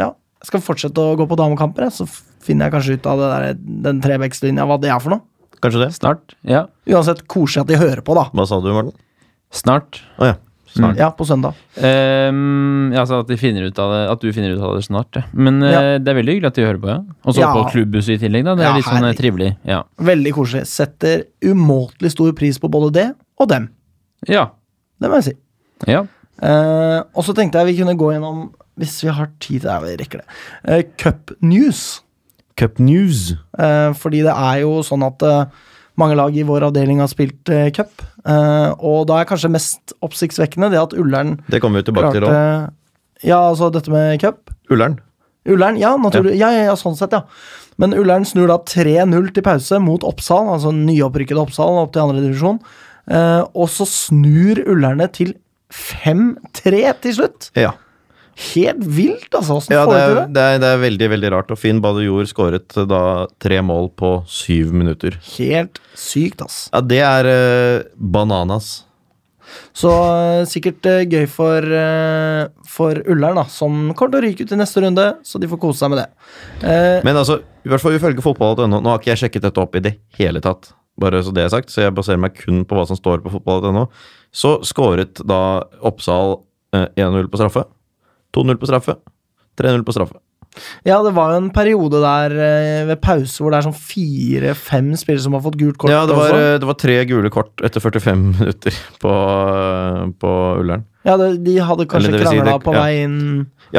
Speaker 1: ja, jeg skal fortsette å gå på damekamper, jeg, så f- finner jeg kanskje ut av det der, den trebekslinja, hva det er for noe.
Speaker 2: Kanskje det?
Speaker 3: Snart. Ja.
Speaker 1: Uansett, koselig at de hører på, da.
Speaker 2: Hva sa du, Morten?
Speaker 3: Snart.
Speaker 2: Å ja. Snart.
Speaker 1: Ja, på søndag.
Speaker 3: Ehm, ja, altså at, de finner ut av det, at du finner ut av det snart. Ja. Men eh,
Speaker 1: Ja.
Speaker 3: det er veldig hyggelig at de hører på. Ja. Og så
Speaker 1: Ja.
Speaker 3: på klubbhuset i tillegg. da Det er
Speaker 1: Ja,
Speaker 3: litt sånn eh,
Speaker 1: herregud.
Speaker 3: trivelig. Ja.
Speaker 1: Veldig koselig. Setter umåtelig stor pris på både det og dem.
Speaker 3: ja.
Speaker 1: Det må jeg si.
Speaker 3: ja.
Speaker 1: Eh, og så tenkte jeg vi kunne gå gjennom, hvis vi har tid til det, vi rekker det, eh, Cup News.
Speaker 2: Cup News.
Speaker 1: Eh, fordi det er jo sånn at eh, mange lag i vår avdeling har spilt eh, cup. Eh, og da er kanskje mest oppsiktsvekkende det at Ullern
Speaker 2: Det kommer vi tilbake til
Speaker 1: klarte
Speaker 2: òg.
Speaker 1: Ja, altså dette med cup.
Speaker 2: Ullern.
Speaker 1: Ullern, ja, naturlig. Ja. Ja, ja, sånn sett, ja. Men Ullern snur da 3-0 til pause mot Oppsal, altså nyopprykkede Oppsal opp til andre divisjon. Eh, og så snur Ullerne til 5-3 til slutt.
Speaker 2: Ja.
Speaker 1: Helt vilt, altså. Åssen
Speaker 2: Ja,
Speaker 1: får de
Speaker 2: det er,
Speaker 1: til det?
Speaker 2: det, er, det er veldig veldig rart. Og Finn Badejord skåret eh, da tre mål på syv minutter.
Speaker 1: Helt sykt, ass.
Speaker 2: Ja, Det er eh, bananas.
Speaker 1: Så eh, sikkert eh, gøy for, eh, for Ullern, da, som kommer til å ryke ut i neste runde, så de får kose seg med det. Eh,
Speaker 2: Men altså, i hvert fall ifølge fotball.no Nå har ikke jeg sjekket dette opp i det hele tatt, bare så det er sagt, så jeg baserer meg kun på hva som står på fotball.no. Så skåret da Oppsal eh, 1-0 på straffe, 2-0 på straffe, 3-0 på straffe.
Speaker 1: ja, det var jo en periode der eh, ved pause hvor det er sånn fire-fem spillere som har fått gult kort.
Speaker 2: ja, det
Speaker 1: også.
Speaker 2: var, eh, det var tre gule kort etter 45 minutter på, eh, på Ullern.
Speaker 1: Ja, det, de hadde kanskje
Speaker 2: Eller det vil si
Speaker 1: krangla
Speaker 2: det-
Speaker 1: på
Speaker 2: ja.
Speaker 1: vei inn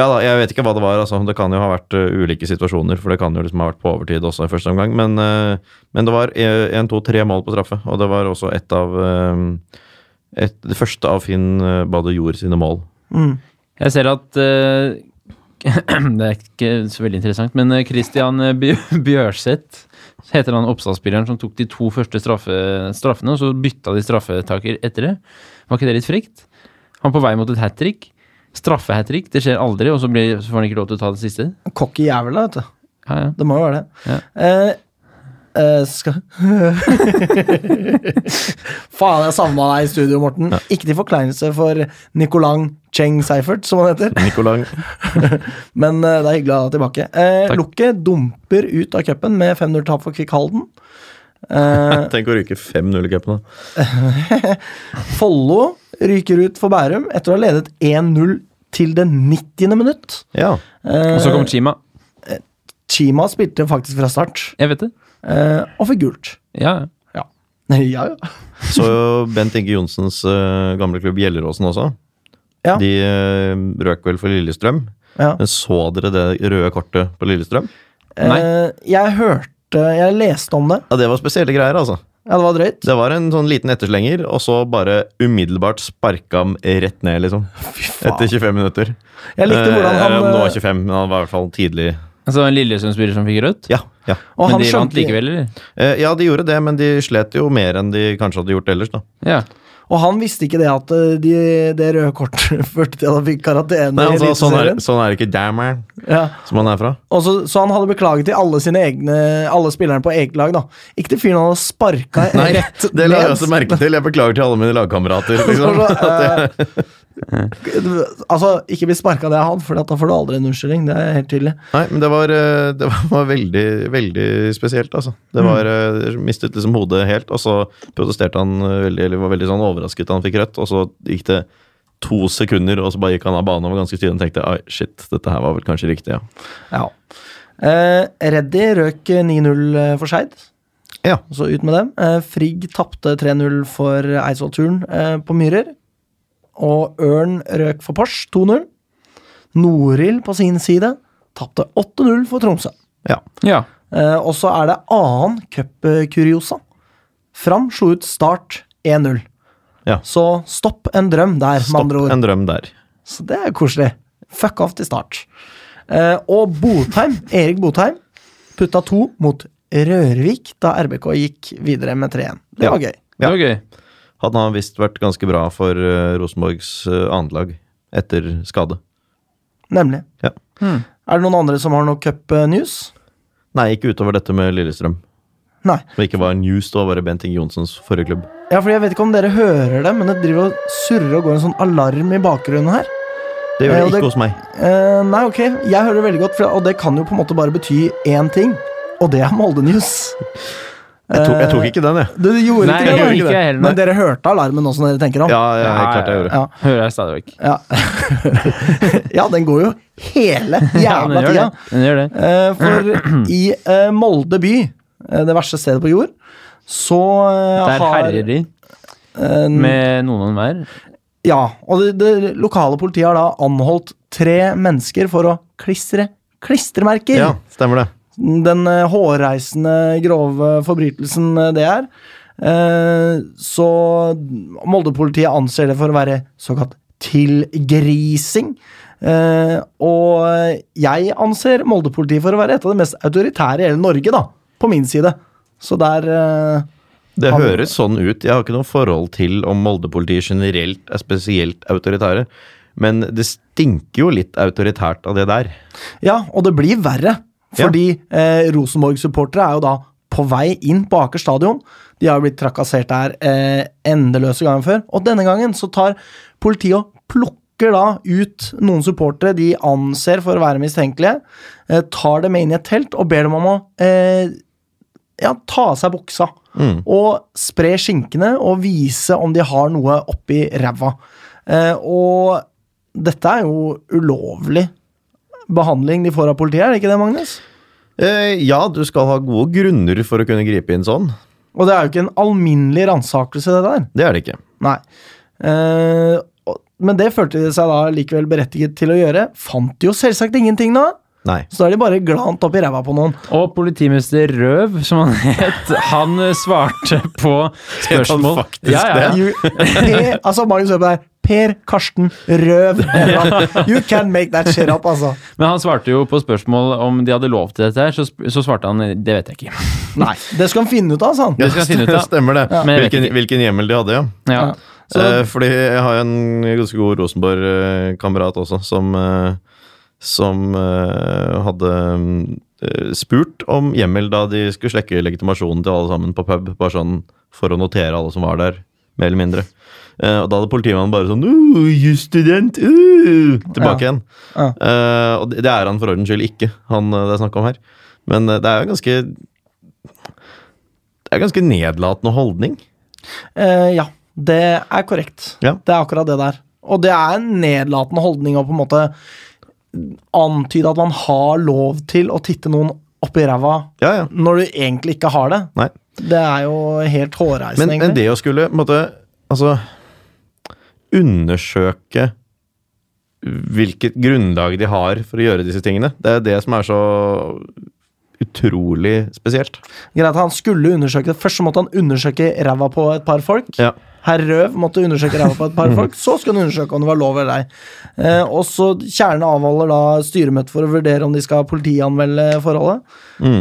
Speaker 2: Ja da, jeg vet ikke hva det var. altså. Det kan jo ha vært eh, ulike situasjoner, for det kan jo liksom ha vært på overtid også i første omgang. Men, eh, men det var én, to, tre mål på straffe, og det var også ett av eh, et, Det første av Finn eh, Badejord sine mål.
Speaker 1: mm.
Speaker 3: Jeg ser at eh, Det er ikke så veldig interessant, men eh, Christian eh, Bjø- Bjørseth heter han oppstartsspilleren som tok de to første straffe, straffene, og så bytta de straffetaker etter det. Var ikke det litt frekt? Han på vei mot et hat trick. Straffe-hat trick, det skjer aldri, og så, blir, så får han ikke lov til å ta det siste.
Speaker 1: Cocky jævel, da, vet du.
Speaker 3: Ja, ja.
Speaker 1: Det må jo være det. Eh, eh, skal Faen, jeg savna deg i studio, Morten. Ikke til forkleinelse for Nicolang Cheng Seifert, som han heter,
Speaker 2: Nicolang.
Speaker 1: men eh, det er hyggelig å ha deg tilbake. Eh,
Speaker 2: Takk.
Speaker 1: Lukke dumper ut av cupen med 5-0-tap for Kvikk Halden. Eh,
Speaker 2: Tenk å ryke 5-0 i cupen, da.
Speaker 1: Follo ryker ut for Bærum etter å ha ledet 1-0 til det 90. minutt.
Speaker 2: Ja.
Speaker 1: Eh,
Speaker 3: Og så kom Chima.
Speaker 1: Chima spilte faktisk fra start,
Speaker 3: Jeg vet det.
Speaker 1: eh, og fikk gult.
Speaker 3: Ja, ja.
Speaker 1: Ja, ja.
Speaker 2: Så jo Bent Inge Johnsens eh, gamle klubb Gjelleråsen også.
Speaker 1: Ja.
Speaker 2: De eh, røk vel for Lillestrøm.
Speaker 1: ja.
Speaker 2: Men så dere det røde kortet på Lillestrøm?
Speaker 3: Nei.
Speaker 1: Eh, jeg hørte Jeg leste om det.
Speaker 2: Ja, det var spesielle greier, altså.
Speaker 1: Ja, det var drøyt.
Speaker 2: Det var en sånn liten etterslenger, og så bare umiddelbart sparka han rett ned, liksom.
Speaker 1: Fy faen.
Speaker 2: Etter 25 minutter.
Speaker 1: Jeg likte hvordan han
Speaker 2: Eh, om det var
Speaker 1: eh,
Speaker 2: 25, men han var i hvert fall tidlig.
Speaker 3: Altså en Lillesund-spiller som fikk rødt.
Speaker 2: Ja, ja.
Speaker 1: og
Speaker 3: Men
Speaker 1: han
Speaker 3: de vant
Speaker 1: skjønte-
Speaker 3: likevel, eller?
Speaker 2: Eh, ja, de gjorde det, men de slet jo mer enn de kanskje hadde gjort ellers, da.
Speaker 3: Ja.
Speaker 1: Og han visste ikke det at eh, de, det røde kortet førte til at han fikk karantene.
Speaker 2: Nei,
Speaker 1: i
Speaker 2: han sa sånn er,
Speaker 1: Eliteserien.
Speaker 2: sånn er det ikke, damn man,
Speaker 1: ja.
Speaker 2: som han er fra.
Speaker 1: Og så, så han hadde beklaget til alle sine egne Alle spillerne på eget lag. da Ikke til fyren han hadde sparka rett
Speaker 2: Det la jeg også merke til. Jeg beklager til alle mine lagkamerater.
Speaker 1: Så, så,
Speaker 2: Liksom.
Speaker 1: eh, altså, ikke bli sparka, det er han, for da får du aldri en unnskyldning. Det er helt tydelig.
Speaker 2: Nei, men det var, eh, det var- var veldig, veldig spesielt, altså. Det var eh, Mistet liksom hodet helt, og så protesterte han eh, veldig, eller var veldig sånn overrasket da han fikk rødt, og så gikk det to sekunder, og så bare gikk han av banen og var ganske tydelig og tenkte Ai, shit, dette her var vel kanskje riktig, ja.
Speaker 1: Ja. Eh, Reddy røk eh, 9-0 eh, for Skeid.
Speaker 2: Ja.
Speaker 1: Så ut med dem. Eh, Frigg tapte 3-0 for Eidsvollturen eh, på Myrer. Og Ørn røk for Pors 2-0. Norild på sin side tapte 8-0 for Tromsø.
Speaker 2: ja.
Speaker 3: ja.
Speaker 1: Eh, og så er det annen cupkuriosa. Fram slo ut Start 1-0.
Speaker 2: Ja.
Speaker 1: Så stopp en drøm der, med
Speaker 2: Stopp
Speaker 1: andre ord.
Speaker 2: en drøm der.
Speaker 1: Så det er koselig. Fuck off til start. Eh, og Botheim, Erik Botheim putta to mot Rørvik da RBK gikk videre med 3-1. Det var gøy.
Speaker 3: Det var gøy.
Speaker 2: Han har visst vært ganske bra for eh, Rosenborgs eh, annet lag. etter skade.
Speaker 1: Nemlig.
Speaker 2: Ja.
Speaker 1: Er det noen andre som har noe cup-news?
Speaker 2: Nei, ikke utover dette med Lillestrøm.
Speaker 1: Nei.
Speaker 2: Som ikke var news, det var bare Bent Inge Johnsens forrige klubb.
Speaker 1: Ja, fordi Jeg vet ikke om dere hører det, men det driver og surrer og går en sånn alarm i bakgrunnen her.
Speaker 2: Det
Speaker 1: Ja,
Speaker 2: gjør
Speaker 1: og
Speaker 2: det
Speaker 1: det-
Speaker 2: ikke hos meg.
Speaker 1: Eh, nei, ok. Jeg hører det veldig godt, for, og det kan jo på en måte bare bety én ting. Og det er Molde News.
Speaker 2: Jeg tok, jeg tok ikke den, jeg.
Speaker 1: Du gjorde
Speaker 3: Nei,
Speaker 1: ikke
Speaker 3: jeg
Speaker 1: det,
Speaker 3: gjorde
Speaker 1: da.
Speaker 3: ikke jeg heller, nei.
Speaker 1: men dere hørte alarmen nå som dere tenker om?
Speaker 2: Ja, ja, jeg, klart jeg gjorde det.
Speaker 1: Ja.
Speaker 3: Hører jeg stadig vekk.
Speaker 1: Ja, ja den går jo hele jævla
Speaker 3: gjør det.
Speaker 1: tida.
Speaker 3: Den gjør det.
Speaker 1: Eh, for i eh, Molde by, eh, det verste stedet på jord, så eh,
Speaker 3: Der
Speaker 1: har
Speaker 3: herjer de
Speaker 1: eh,
Speaker 3: med noen og enhver.
Speaker 1: Ja, og det, det lokale politiet har da anholdt tre mennesker for å klistre klistremerker.
Speaker 2: Ja, stemmer det.
Speaker 1: Den eh, hårreisende grove forbrytelsen eh, det er. Eh, så Molde-politiet anser det for å være såkalt tilgrising. Eh, og jeg anser Molde-politiet for å være et av de mest autoritære i hele Norge, da. På min side. Så der eh,
Speaker 2: Det
Speaker 1: Han-
Speaker 2: høres sånn ut. Jeg har ikke noe forhold til om Molde-politiet generelt er spesielt autoritære. Men det stinker jo litt autoritært av det der.
Speaker 1: Ja, og det blir verre. Fordi eh, Rosenborg-supportere er jo da på vei inn på Aker stadion. De har jo blitt trakassert der eh, endeløse ganger før. Og denne gangen så tar politiet og plukker da ut noen supportere de anser for å være mistenkelige. Eh, tar dem med inn i et telt og ber dem om å eh, ja, ta av seg buksa. Og spre skinkene og vise om de har noe oppi ræva. Eh, og dette er jo ulovlig behandling de får av politiet, er det ikke det, Magnus?
Speaker 2: Eh, ja, du skal ha gode grunner for å kunne gripe inn sånn.
Speaker 1: Og det er jo ikke en alminnelig ransakelse, det der.
Speaker 2: Det er det ikke.
Speaker 1: Nei. Eh, og- men det følte de seg da likevel berettiget til å gjøre. Fant jo selvsagt ingenting, da.
Speaker 2: Nei.
Speaker 1: Så da er de bare glant opp i ræva på noen.
Speaker 3: Og politimester Røv, som han het, han eh, svarte på spørsmål.
Speaker 2: faktisk det?
Speaker 1: You, per, altså, Magnus Øbe der. Per Karsten Røv. You can make that shit up, altså.
Speaker 3: Men han svarte jo på spørsmål om de hadde lov til dette her, så, sp- så svarte han det vet jeg ikke.
Speaker 1: Nei, det skal han finne ut av, sa han.
Speaker 3: Det skal jeg finne ut av.
Speaker 2: Stemmer det.
Speaker 3: Men jeg vet
Speaker 2: Hvilken, hvilken hjemmel de hadde, ja.
Speaker 3: Ja.
Speaker 2: eh, fordi jeg har jo en ganske god Rosenborg-kamerat også, som, eh, som eh, hadde mm, eh, spurt om hjemmel da de skulle slekke legitimasjonen til alle sammen på pub, bare sånn for å notere alle som var der, mer eller mindre. Eh, og da hadde politimannen bare sånn uh, jusstudent! Uh, tilbake igjen.
Speaker 1: Ja.
Speaker 2: Eh, og det det er han for ordens skyld ikke, han eh, det er snakk om her. Men eh, det er jo ganske Det er ganske nedlatende holdning.
Speaker 1: Eh, ja, det er korrekt.
Speaker 2: Ja.
Speaker 1: Det er akkurat det der. Og det er en nedlatende holdning å på en måte antyde at man har lov til å titte noen opp i ræva
Speaker 2: Ja, ja.
Speaker 1: når du egentlig ikke har det.
Speaker 2: Nei.
Speaker 1: Det er jo helt hårreisende,
Speaker 2: Men, men
Speaker 1: egentlig.
Speaker 2: det å skulle på en måte, altså, undersøke hvilket grunnlag de har for å gjøre disse tingene, det er det som er så utrolig spesielt.
Speaker 1: Greit, han skulle undersøke det. Først så måtte han undersøke ræva på et par folk.
Speaker 2: Ja.
Speaker 1: Herr Røv måtte undersøke ræva på et par folk, så skulle han undersøke om det var lov eller ei. Eh, og så Kjernen avholder da styremøte for å vurdere om de skal politianmelde forholdet.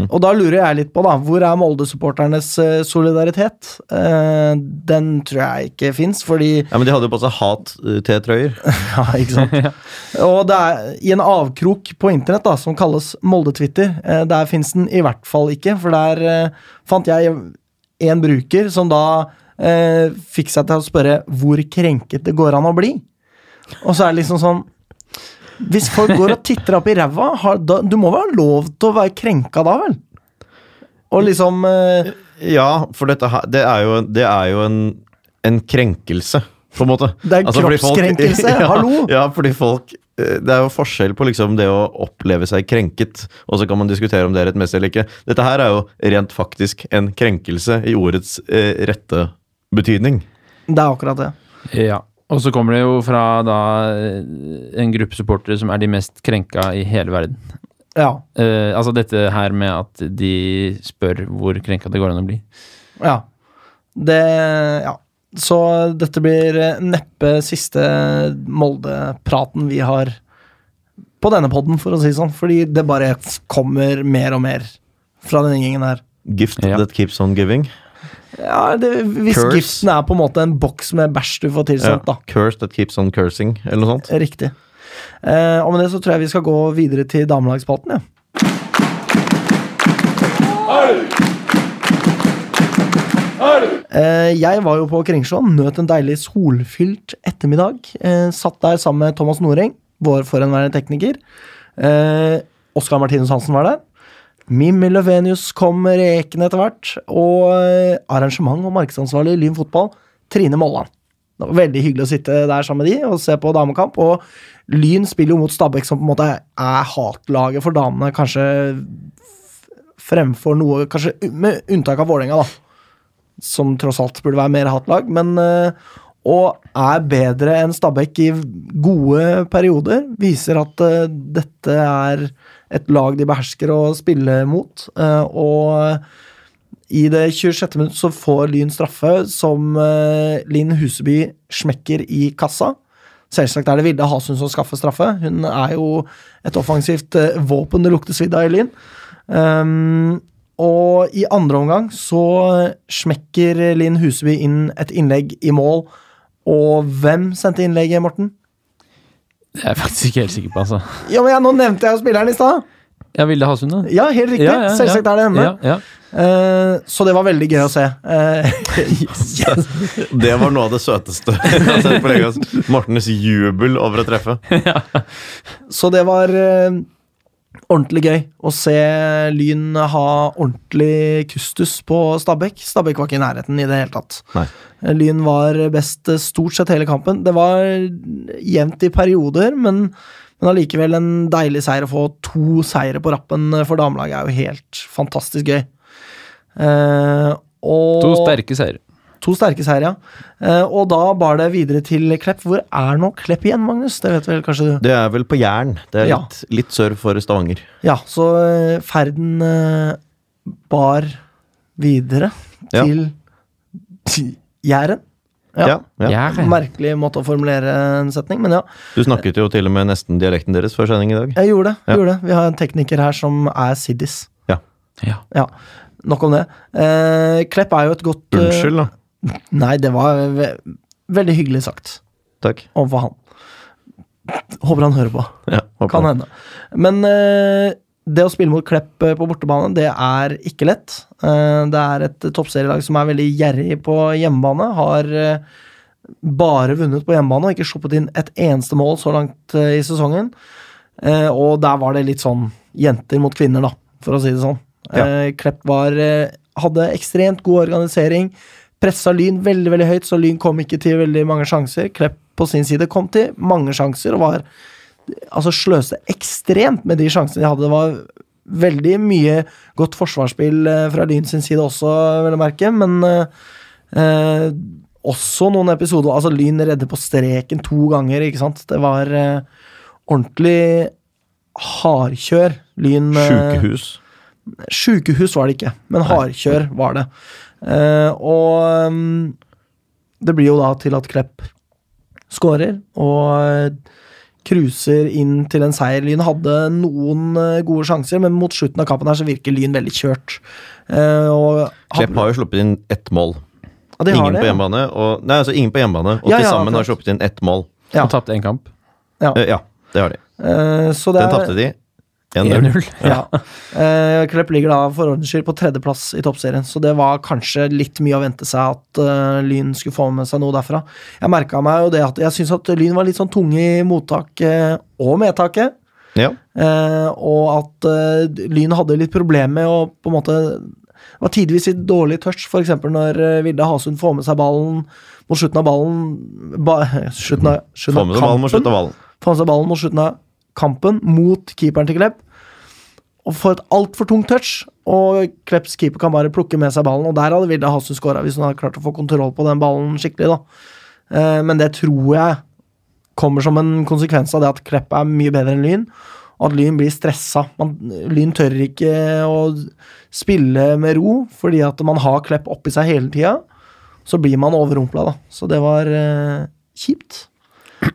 Speaker 1: Og da lurer jeg litt på, da, hvor er Molde-supporternes eh, solidaritet? Eh, den tror jeg ikke fins, fordi
Speaker 2: ja, men de hadde jo på seg hat-T-trøyer.
Speaker 1: Ja, ikke sant? Og det er i en avkrok på internett da, som kalles Molde-Twitter. Eh, der fins den i hvert fall ikke, for der eh, fant jeg en bruker som da eh, fikk seg til å spørre hvor krenket det går an å bli. Og så er det liksom sånn Hvis folk går og titter opp i ræva, har, da, du må vel ha lov til å være krenka da, vel? Og liksom eh,
Speaker 2: Ja, for dette her, det er jo, det er jo en, en krenkelse, på en måte. Altså,
Speaker 1: Det er en
Speaker 2: fordi folk-
Speaker 1: kroppskrenkelse,
Speaker 2: ja,
Speaker 1: hallo!
Speaker 2: Ja, fordi folk eh, Det er jo forskjell på liksom det å oppleve seg krenket, og så kan man diskutere om det er rettmessig eller ikke. Dette her er jo rent faktisk en krenkelse i ordets eh, rette betydning.
Speaker 1: Det er akkurat det.
Speaker 3: ja. Og så kommer det jo fra da eh, en gruppe supportere som er de mest krenka i hele verden.
Speaker 1: Ja.
Speaker 3: Eh, altså dette her med at de spør hvor krenka det går an å bli.
Speaker 1: Ja. Det Ja. Så dette blir eh, neppe siste Molde-praten vi har på denne podden, for å si det sånn. Fordi det bare kommer mer og mer fra denne gjengen her.
Speaker 2: Gift
Speaker 3: Ja.
Speaker 2: that keeps on giving.
Speaker 1: Ja, det, hvis
Speaker 2: Curse.
Speaker 1: gipsen er på en måte en boks med bæsj du får
Speaker 2: Ja.
Speaker 1: tilsendt, da.
Speaker 2: Curse that keeps on cursing, eller noe sånt.
Speaker 1: Riktig. Eh, og med det så tror jeg vi skal gå videre til damelagsspalten, ja. Eh, jeg var jo på Kringsjå, nøt en deilig solfylt ettermiddag. Eh, satt der sammen med Thomas Noreng, vår forhenværende tekniker. Eh, Oskar Martinus Hansen var der. Mimmi Løvenius kom rekende etter hvert. Og eh, arrangement og markedsansvarlig i Lyn fotball, Trine Molland. Det var veldig hyggelig å sitte der sammen med de og se på damekamp. Og Lyn spiller jo mot Stabæk, som på en måte er hatlaget for damene, kanskje f- fremfor noe Kanskje med unntak av Vålerenga, da. Som tross alt burde være mer hatlag, men eh, Og er bedre enn Stabæk i gode perioder. Viser at eh, dette er et lag de behersker å spille mot. eh, og i det 26. minutt så får Lyn straffe, som eh, Linn Huseby smekker i kassa. Selvsagt er det Vilde Hasund som skaffer straffe. Hun er jo et offensivt eh, våpen det lukter svidd av i Lyn. Ehm, og i andre omgang så smekker Linn Huseby inn et innlegg i mål. Og hvem sendte innlegget, Morten?
Speaker 3: Det er jeg faktisk ikke helt sikker på, altså.
Speaker 1: Ja, men jeg, Nå nevnte jeg jo spilleren i stad!
Speaker 3: Ja, Vilde Hasund, da?
Speaker 1: Ja, helt riktig.
Speaker 3: Ja, ja,
Speaker 1: Selvsagt
Speaker 3: ja.
Speaker 1: er det henne.
Speaker 3: Ja, ja.
Speaker 1: Eh, så det var veldig gøy å se. Eh, yes.
Speaker 2: Det var noe av det søteste jeg har sett på lenge. altså. Mortens jubel over å treffe.
Speaker 1: Så det var eh, ordentlig gøy å se Lyn ha ordentlig kustus på Stabæk. Stabæk var ikke i nærheten i det hele tatt.
Speaker 2: Nei.
Speaker 1: Eh, Lyn var best eh, stort sett hele kampen. Det var jevnt i perioder, men men allikevel en deilig seier å få to seire på rappen eh, for damelaget er jo helt fantastisk gøy. Eh, og
Speaker 3: To sterke seire.
Speaker 1: to sterke seire, ja. Eh, og da bar det videre til Klepp. Hvor er nå Klepp igjen, Magnus? Det vet vel kanskje du?
Speaker 2: Det er vel på Jæren. Det er
Speaker 1: Ja.
Speaker 2: litt, litt sør for Stavanger.
Speaker 1: Ja, så eh, ferden eh, bar videre
Speaker 2: Ja.
Speaker 1: til til Jæren.
Speaker 2: Ja.
Speaker 1: Ja.
Speaker 2: ja.
Speaker 1: Merkelig måte å formulere en setning, men ja.
Speaker 2: Du snakket jo til og med nesten dialekten deres før sending i dag.
Speaker 1: Jeg gjorde det.
Speaker 2: Ja.
Speaker 1: Gjorde det. Vi har en tekniker her som er siddis.
Speaker 3: Ja.
Speaker 1: Ja, nok om det. Eh, Klepp er jo et godt eh,
Speaker 2: Unnskyld, da.
Speaker 1: Nei, det var ve veldig hyggelig sagt
Speaker 2: Takk.
Speaker 1: overfor han. Håper han hører på.
Speaker 2: Ja, håper
Speaker 1: Kan
Speaker 2: det.
Speaker 1: hende. Men eh, det å spille mot Klepp eh, på bortebane, det er ikke lett. Eh, det er et toppserielag som er veldig gjerrig på hjemmebane. Har eh, bare vunnet på hjemmebane og ikke sluppet inn et eneste mål så langt eh, i sesongen. Eh, og der var det litt sånn jenter mot kvinner, da, for å si det sånn.
Speaker 2: Ja.
Speaker 1: Eh, Klepp var, eh, hadde ekstremt god organisering. Pressa Lyn veldig veldig høyt, så Lyn kom ikke til veldig mange sjanser. Klepp på sin side kom til mange sjanser og var altså sløste ekstremt med de sjansene de hadde. Det var veldig mye godt forsvarsspill eh, fra Lyn sin side også, vil jeg merke, men eh, eh, også noen episoder Altså, Lyn redder på streken to ganger, ikke sant? Det var eh, ordentlig hardkjør. Lyn eh,
Speaker 2: Sjukehus.
Speaker 1: Sjukehus var det ikke, men hardkjør var det. Eh, og mm, det blir jo da til at Klepp skårer og eh, cruiser inn til en seier. Lyn hadde noen eh, gode sjanser, men mot slutten av kampen her så virker Lyn veldig kjørt. Eh, og
Speaker 2: Klepp har jo sluppet inn ett mål.
Speaker 1: Ja, de har
Speaker 2: ingen
Speaker 1: det,
Speaker 2: på
Speaker 1: ja.
Speaker 2: hjemmebane, og, nei, altså ingen på hjemmebane, og
Speaker 1: Ja,
Speaker 2: til
Speaker 1: ja,
Speaker 2: sammen har
Speaker 1: klart.
Speaker 2: sluppet inn ett mål.
Speaker 1: Ja.
Speaker 3: Og tapte én kamp.
Speaker 2: Eh, ja, det har de.
Speaker 1: Eh, så det
Speaker 2: Den
Speaker 1: er,
Speaker 2: tapte de 1-0.
Speaker 3: 1-0.
Speaker 1: Ja. Eh, Klepp ligger da for ordens skyld på tredjeplass i toppserien, så det var kanskje litt mye å vente seg at eh, Lyn skulle få med seg noe derfra. Jeg merka meg jo det at jeg syns at Lyn var litt sånn tunge i mottaket og medtaket.
Speaker 2: Ja.
Speaker 1: Eh, og at eh, Lyn hadde litt problemer med å på en måte Det var tidvis litt dårlig touch, f.eks. når eh, Vilde Hasund får med seg ballen mot slutten av ballen ba, slutten av, slutten
Speaker 2: Få
Speaker 1: av
Speaker 2: med seg ballen
Speaker 1: kampen
Speaker 2: mot slutt av ballen.
Speaker 1: får han seg ballen mot slutten av kampen, mot keeperen til Klepp. Og får et altfor tungt touch, og Klepps keeper kan bare plukke med seg ballen. Og der hadde Vilde Hasund skåra, hvis hun hadde klart å få kontroll på den ballen skikkelig. da. Eh, Men det tror jeg kommer som en konsekvens av det at Klepp er mye bedre enn Lyn. og At Lyn blir stressa. Man, lyn tør ikke å spille med ro, fordi at man har Klepp oppi seg hele tida. Så blir man overrumpla, da. Så det var eh, kjipt.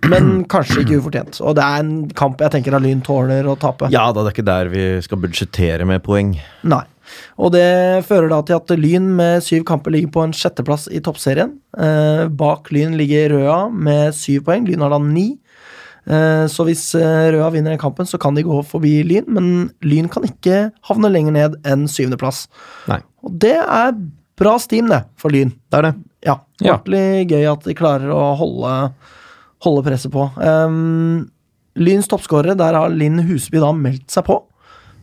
Speaker 1: Men kanskje ikke ufortjent. Og det er en kamp jeg tenker at Lyn tåler å tape.
Speaker 2: Ja da, det er ikke der vi skal budsjettere med poeng.
Speaker 1: Nei. Og det fører da til at Lyn med syv kamper ligger på en sjetteplass i toppserien. Eh, bak Lyn ligger Røa med syv poeng. Lyn har da ni. Eh, så hvis eh, Røa vinner den kampen, så kan de gå forbi Lyn, men Lyn kan ikke havne lenger ned enn syvendeplass.
Speaker 2: Nei.
Speaker 1: Og det er bra steam, det, for Lyn.
Speaker 2: Det er det.
Speaker 1: Ja.
Speaker 3: Ja.
Speaker 1: Ordentlig gøy at de klarer å holde, holde presset på. Ehm, Lyns toppskårere, der har Linn Husby da meldt seg på.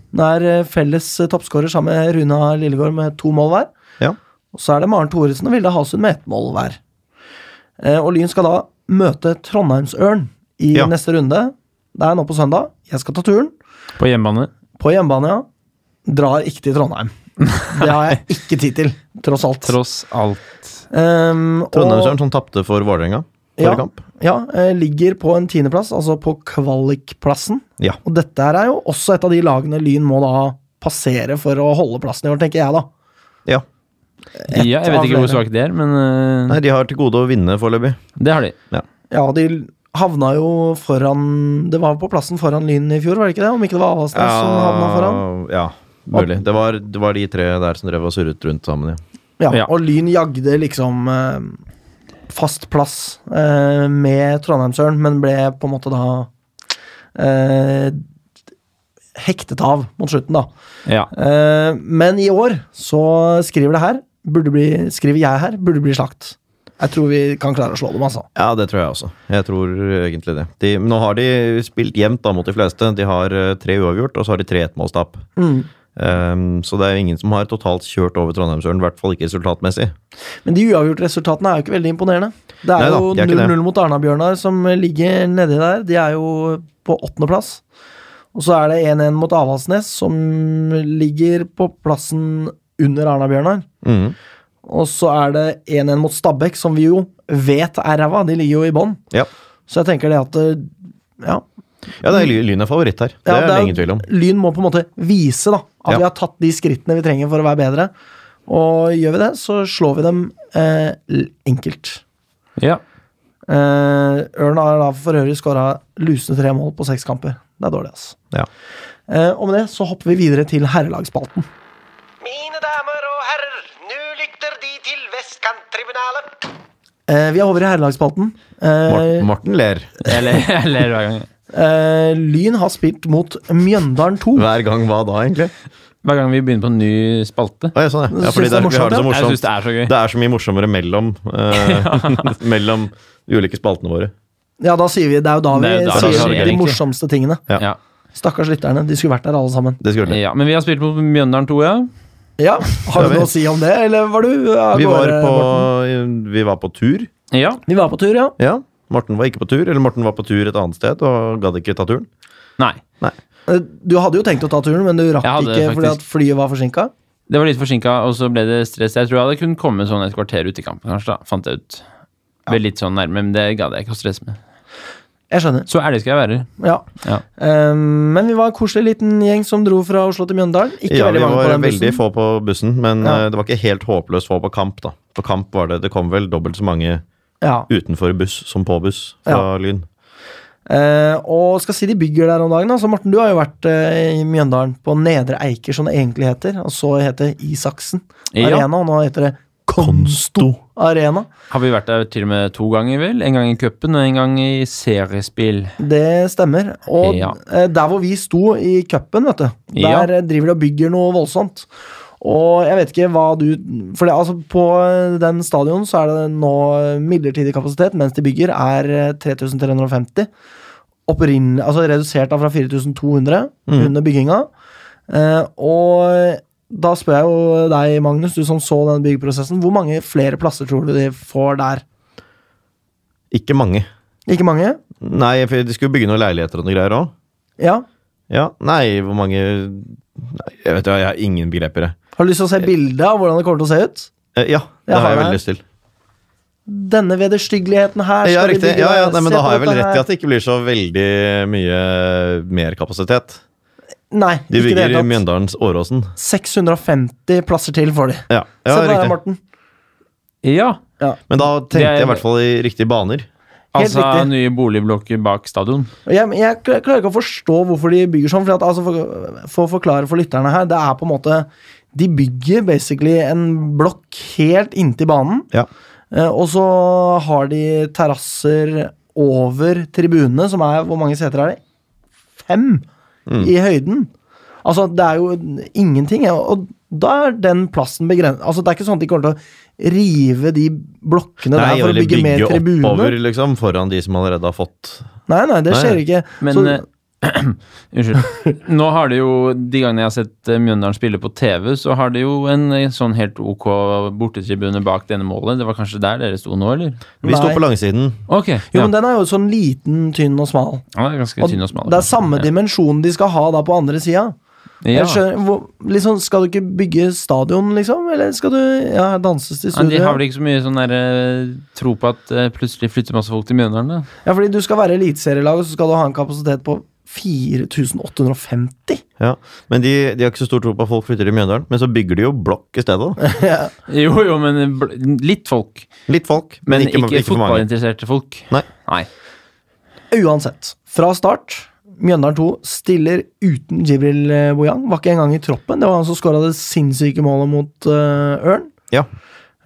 Speaker 1: Hun er eh, felles eh, toppskårer sammen med Runa Lillegård med to mål hver.
Speaker 2: Ja.
Speaker 1: Og så er det Maren Thoresen og Vilde Hasund med ett mål hver. Eh, Og Lyn skal da møte Trondheimsørn i
Speaker 2: Ja.
Speaker 1: neste runde. Det er nå på søndag. Jeg skal ta turen.
Speaker 3: På hjemmebane.
Speaker 1: På hjemmebane, ja. Drar ikke til Trondheim. Det har jeg ikke tid til, tross alt.
Speaker 3: Tross alt.
Speaker 1: Ehm, og-
Speaker 2: Trondheimsøren som tapte for Vålerenga forrige
Speaker 1: Ja.
Speaker 2: kamp.
Speaker 1: Ja, eh, ligger på en tiendeplass, altså på kvalikplassen.
Speaker 2: Ja.
Speaker 1: Og dette her er jo også et av de lagene Lyn må da passere for å holde plassen i år, tenker jeg da.
Speaker 2: ja.
Speaker 3: Ja, jeg
Speaker 1: av
Speaker 3: vet ikke hvor
Speaker 1: flere.
Speaker 3: svake de er, men eh,
Speaker 2: Nei, de har til gode å vinne foreløpig.
Speaker 3: det har de.
Speaker 1: Ja, de havna jo foran Det var på plassen foran Lyn i fjor, var det ikke det? Om ikke det var Avaldsnes som havna foran.
Speaker 2: ja, mulig. Det var, det var de tre der som drev og surret rundt sammen, ja.
Speaker 1: Ja,
Speaker 3: Ja.
Speaker 1: Og Lyn jagde liksom eh, fast plass eh, med Trondheimsøren, men ble på en måte da eh, hektet av mot slutten, da.
Speaker 3: Ja.
Speaker 1: Eh, men i år så skriver det her burde bli, Skriver jeg her, burde bli slakt. Jeg tror vi kan klare å slå dem, altså.
Speaker 2: Ja, det tror jeg også. Jeg tror egentlig det. De, nå har de spilt jevnt da mot de fleste. De har eh, tre uavgjort, og så har de tre ettmålstap.
Speaker 1: Mm.
Speaker 2: Ehm, så det er jo ingen som har totalt kjørt over Trondheimsøren, i hvert fall ikke resultatmessig.
Speaker 1: Men de uavgjorte resultatene er jo ikke veldig imponerende. Det er
Speaker 2: Nei da,
Speaker 1: jo
Speaker 2: de er ikke det.
Speaker 1: 0-0 mot Arna-Bjørnar, som ligger nedi der. De er jo på åttendeplass. Og så er det 1-1 mot Avaldsnes, som ligger på plassen under Arna-Bjørnar.
Speaker 2: Mhm.
Speaker 1: Og så er det 1-1 mot Stabæk, som vi jo vet er ræva. De ligger jo i bånn.
Speaker 2: Ja.
Speaker 1: Så jeg tenker det at eh, Ja,
Speaker 2: ja, det er Ly- Lyn er favoritt her. Det
Speaker 1: Ja,
Speaker 2: er det ingen tvil om.
Speaker 1: Lyn må på en måte vise da, at
Speaker 2: Ja.
Speaker 1: vi har tatt de skrittene vi trenger for å være bedre. Og gjør vi det, så slår vi dem eh, l- enkelt.
Speaker 3: ja.
Speaker 1: Eh, Ørn har da for øvrig skåra lusende tre mål på seks kamper. Det er dårlig, altså.
Speaker 2: Ja.
Speaker 1: Eh, og med det så hopper vi videre til herrelagsspalten.
Speaker 5: Mine damer og herrer, nå lytter De til Vestkanttribunalet.
Speaker 1: Eh, vi er over i herrelagsspalten. Eh,
Speaker 2: Morten, Morten ler
Speaker 3: Jeg ler, jeg ler hver gang
Speaker 1: eh, Lyn har spilt mot Mjøndalen 2.
Speaker 2: hver gang hva da, egentlig?
Speaker 3: Hver gang vi begynner på en ny spalte.
Speaker 2: Å, ja, sånn, ja. ja,
Speaker 1: Synes
Speaker 2: fordi
Speaker 1: det er
Speaker 2: der, vi har det så
Speaker 1: morsomt,
Speaker 3: Jeg
Speaker 2: morsomt.
Speaker 3: syns det er så gøy.
Speaker 2: Det er så mye morsommere mellom, eh, mellom de ulike spaltene våre.
Speaker 1: Ja, da sier vi det er jo da vi
Speaker 3: Det er jo da
Speaker 2: det
Speaker 1: sier
Speaker 2: skjer,
Speaker 1: de
Speaker 3: egentlig.
Speaker 1: morsomste tingene.
Speaker 2: Ja.
Speaker 3: Ja.
Speaker 1: Stakkars lytterne. De skulle vært der alle sammen.
Speaker 2: Det skulle det.
Speaker 3: ja, Men vi har spilt mot Mjøndalen 2, ja.
Speaker 1: Ja, Har
Speaker 2: Ja,
Speaker 1: du
Speaker 2: vi-
Speaker 1: noe å si om det, eller var du eh, av
Speaker 2: Vi var
Speaker 1: gårde,
Speaker 2: på,
Speaker 1: Morten?
Speaker 2: vi var på tur.
Speaker 3: ja.
Speaker 1: Vi var på tur, ja.
Speaker 2: Ja, Morten var ikke på tur, eller Morten var på tur et annet sted og gadd ikke ta turen.
Speaker 3: Nei.
Speaker 1: Eh, Du hadde jo tenkt å ta turen, men du rakk
Speaker 3: Jeg hadde
Speaker 1: ikke fordi
Speaker 3: faktisk-
Speaker 1: at flyet var forsinka.
Speaker 3: Det var litt forsinka, og så ble det stress. Jeg tror jeg hadde kunnet komme sånn et kvarter ut i kampen, kanskje. da, fant jeg ut. Ble litt sånn nærme, men det gadd jeg ikke å stresse med.
Speaker 1: Jeg skjønner.
Speaker 3: Så ærlig skal jeg være.
Speaker 1: Ja.
Speaker 3: Ja.
Speaker 1: Eh, men vi var en koselig liten gjeng som dro fra Oslo til Mjøndalen. Ikke
Speaker 2: ja, vi
Speaker 1: veldig mange på
Speaker 2: var
Speaker 1: den
Speaker 2: veldig
Speaker 1: bussen.
Speaker 2: få på bussen, men
Speaker 1: Ja.
Speaker 2: eh, det var ikke helt håpløst få på kamp, da. På kamp var det Det kom vel dobbelt så mange
Speaker 1: Ja.
Speaker 2: utenfor buss som på buss fra Lyn.
Speaker 1: Eh, og skal si de bygger der om dagen. da. Så Morten, du har jo vært eh, i Mjøndalen, på Nedre Eiker, som det egentlig heter. Og så heter det Isaksen
Speaker 3: Ja.
Speaker 1: Arena, og nå heter det Konsto Arena.
Speaker 3: Har vi vært der til og med to ganger, vel? En gang i cupen og en gang i seriespill.
Speaker 1: Det stemmer. Og
Speaker 3: Ja.
Speaker 1: eh, der hvor vi sto i cupen, vet du,
Speaker 3: Ja.
Speaker 1: der eh, driver de og bygger noe voldsomt. Og jeg vet ikke hva du For det, altså, på eh, den stadion så er det nå eh, midlertidig kapasitet, mens de bygger, er eh, 3350. Opprinnelig Altså redusert da fra 4200
Speaker 3: Mm.
Speaker 1: under bygginga. Eh, og da spør jeg jo deg, Magnus, du som så den byggeprosessen, hvor mange flere plasser tror du de får der?
Speaker 2: Ikke mange.
Speaker 1: Ikke mange?
Speaker 2: Nei, for de skulle bygge noen leiligheter og noe greier òg.
Speaker 1: Ja?
Speaker 2: Ja, nei, hvor mange nei, Jeg vet jo, jeg har ingen begreper, jeg.
Speaker 1: Har du lyst til
Speaker 3: Eh.
Speaker 1: å se bildet av hvordan det kommer til å se ut?
Speaker 2: Eh, Ja, det
Speaker 1: Jeg
Speaker 2: har
Speaker 1: har
Speaker 2: jeg
Speaker 1: det.
Speaker 2: veldig lyst til.
Speaker 1: denne vederstyggeligheten her
Speaker 2: Ja,
Speaker 1: skal vi
Speaker 2: riktig.
Speaker 1: bygge
Speaker 2: Ja, ja,
Speaker 1: der,
Speaker 2: nei,
Speaker 1: se
Speaker 2: men da
Speaker 1: på
Speaker 2: har jeg vel
Speaker 1: dette
Speaker 2: rett i
Speaker 1: her.
Speaker 2: at det ikke blir så veldig mye mer kapasitet.
Speaker 1: Nei,
Speaker 2: De
Speaker 1: ikke
Speaker 2: bygger
Speaker 1: det
Speaker 2: i
Speaker 1: hele tatt.
Speaker 2: Mjøndalens Åråsen.
Speaker 1: 650 plasser til får de.
Speaker 2: Ja,
Speaker 1: Se
Speaker 2: ja
Speaker 1: på det her,
Speaker 2: riktig.
Speaker 1: Morten.
Speaker 3: Ja.
Speaker 2: Men da
Speaker 3: Det
Speaker 2: tenkte
Speaker 3: er-
Speaker 2: jeg i hvert fall i riktige baner.
Speaker 1: Helt
Speaker 3: Altså
Speaker 1: riktig.
Speaker 3: nye boligblokker bak stadion.
Speaker 1: Og Jeg, jeg kl- klarer ikke å forstå hvorfor de bygger sånn. Fordi at, altså, for, for å forklare for lytterne her, det er på en måte De bygger basically en blokk helt inntil banen.
Speaker 2: Ja.
Speaker 1: Eh, Og så har de terrasser over tribunene, som er Hvor mange seter er det? Fem
Speaker 3: Mm.
Speaker 1: i høyden. Altså, det er jo ingenting. ja, Og da er den plassen begrenset Altså, det er ikke sånn at de kommer til å rive de blokkene der for å
Speaker 2: eller
Speaker 1: bygge, mer tribuner.
Speaker 2: oppover, liksom, foran de som allerede har fått
Speaker 1: Nei, nei, det
Speaker 2: Nei,
Speaker 1: skjer ikke.
Speaker 3: Men
Speaker 1: så,
Speaker 3: eh, Unnskyld. Nå har de jo, de gangene jeg har sett eh, Mjøndalen spille på TV, så har de jo en eh, sånn helt ok bortetribune bak denne målet. Det var kanskje der dere sto nå, eller?
Speaker 2: Vi sto
Speaker 1: Nei.
Speaker 2: på langsiden.
Speaker 3: Ok.
Speaker 1: jo,
Speaker 3: ja.
Speaker 1: men den er jo sånn liten, tynn og smal.
Speaker 3: Ja, det er ganske
Speaker 1: Og
Speaker 3: tynn og smal.
Speaker 1: det er samme dimensjon de skal ha da på andre sida.
Speaker 3: Ja.
Speaker 1: Jeg skjønner, hvor, liksom, skal du ikke bygge stadion, liksom? Eller skal du ja, danses til
Speaker 3: Ja, de
Speaker 1: studio?
Speaker 3: har vel ikke så mye sånn der, eh, tro på at eh, plutselig flytter masse folk til Mjøndalen? da?
Speaker 1: Ja, fordi du skal være eliteserielag, og så skal du ha en kapasitet på 4850.
Speaker 2: Ja. Men de, de har ikke så stor tro på at folk flytter til Mjøndalen. Men så bygger de jo blokk i stedet. da.
Speaker 3: Jo, jo, men eh, bl- litt folk.
Speaker 2: Litt folk, men,
Speaker 3: Men
Speaker 2: ikke, ikke, for mange.
Speaker 3: fotballinteresserte folk.
Speaker 2: Nei.
Speaker 1: Eh, Uansett, fra start Mjøndalen 2 stiller uten Jibril eh, Boyang. Var ikke engang i troppen. Det var han som skåra det sinnssyke målet mot eh, Ørn.
Speaker 2: Ja.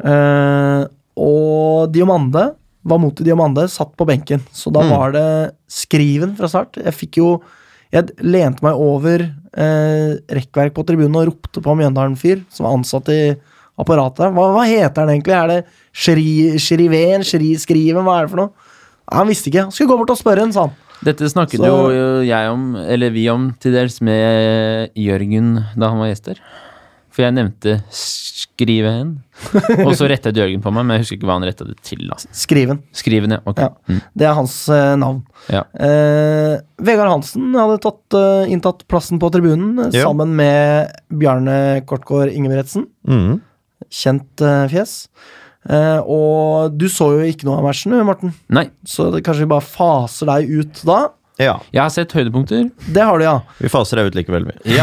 Speaker 1: Eh, og Diomande var mot Diomande, satt på benken. Så da var det skriven fra start. Jeg fikk jo Jeg lente meg over eh, rekkverk på tribunen og ropte på Mjøndalen-fyr som var ansatt i apparatet. Hva, hva heter han egentlig? Er det Shri- Shriven? Shri Skriven? Hva er det for noe? Nei, Han visste ikke. Han skulle gå bort og spørre, en, sa han.
Speaker 3: Dette snakket
Speaker 1: Så-
Speaker 3: jo eh, jeg om, eller vi om til dels, med Jørgen da han var gjester. For jeg nevnte 'skrive hen', og så rettet Jørgen på meg, men jeg husker ikke hva han retta det til. da.
Speaker 1: Skriven.
Speaker 3: Skrive ned, ok.
Speaker 1: Ja.
Speaker 3: Mm.
Speaker 1: Det er hans eh, navn.
Speaker 3: Ja.
Speaker 1: Eh, Vegard Hansen hadde tatt, eh, inntatt plassen på tribunen eh,
Speaker 2: Ja.
Speaker 1: sammen med Bjarne Kortgård Ingebretsen.
Speaker 2: Mhm.
Speaker 1: Kjent eh, fjes. Eh, og du så jo ikke noe av matchen, du, Morten.
Speaker 3: Nei,
Speaker 1: Så det, kanskje vi bare faser deg ut da?
Speaker 2: Ja.
Speaker 3: jeg har sett høydepunkter.
Speaker 1: Det har du, ja.
Speaker 2: Vi faser deg ut likevel, vi.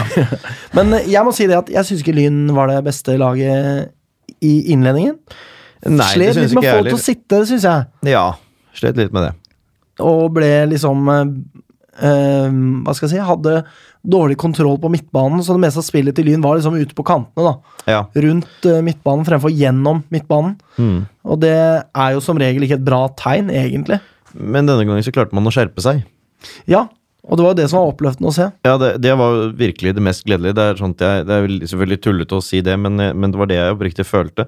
Speaker 1: Men eh, jeg må si det at jeg syns ikke Lyn var det beste laget i innledningen.
Speaker 2: Nei, det
Speaker 1: Slet
Speaker 2: syns
Speaker 1: litt med å
Speaker 2: ikke jeg
Speaker 1: få til å
Speaker 2: heller.
Speaker 1: sitte, syns jeg.
Speaker 2: Ja. Slet litt med det.
Speaker 1: og ble liksom eh, eh, Hva skal jeg si Hadde dårlig kontroll på midtbanen, så det meste av spillet til Lyn var liksom ute på kantene. da
Speaker 2: Ja.
Speaker 1: Rundt eh, midtbanen fremfor gjennom midtbanen. Og det er jo som regel ikke et bra tegn, egentlig.
Speaker 2: Men denne gangen så klarte man å skjerpe seg.
Speaker 1: Ja, og det var jo det som var oppløftende å se.
Speaker 2: Ja, det, det var jo virkelig det mest gledelige. Det er, sånt jeg, det er vel selvfølgelig tullete å si det, men, eh, men det var det jeg oppriktig følte.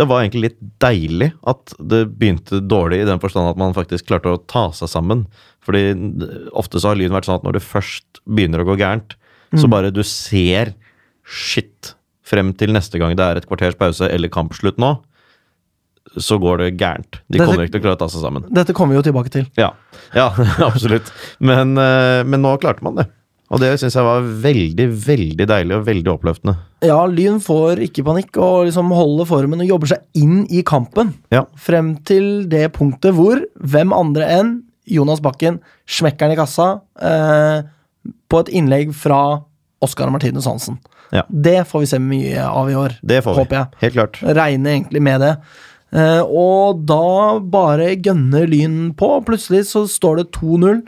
Speaker 2: Det var egentlig litt deilig at det begynte dårlig, i den forstand at man faktisk klarte å ta seg sammen. Fordi ofte så har lyden vært sånn at når det først begynner å gå gærent, så bare du ser shit frem til neste gang det er et kvarters pause eller kampslutt nå, så går det gærent. De
Speaker 1: Dette-
Speaker 2: kommer ikke til å klare å ta seg sammen.
Speaker 1: Dette kommer vi jo tilbake til.
Speaker 2: Ja, ja absolutt. Men, eh, men nå klarte man det. Og det syns jeg var veldig, veldig deilig og veldig oppløftende.
Speaker 1: Ja, Lyn får ikke panikk og liksom holder formen og jobber seg inn i kampen.
Speaker 2: Ja.
Speaker 1: Frem til det punktet hvor hvem andre enn Jonas Bakken smekker den i kassa eh, på et innlegg fra Oskar Martinus Hansen.
Speaker 2: Ja.
Speaker 1: Det får vi se mye av i år,
Speaker 2: Det får vi.
Speaker 1: håper jeg.
Speaker 2: Helt klart.
Speaker 1: Regner egentlig med det. Eh, og da bare gønner Lyn på, og plutselig så står det 2-0.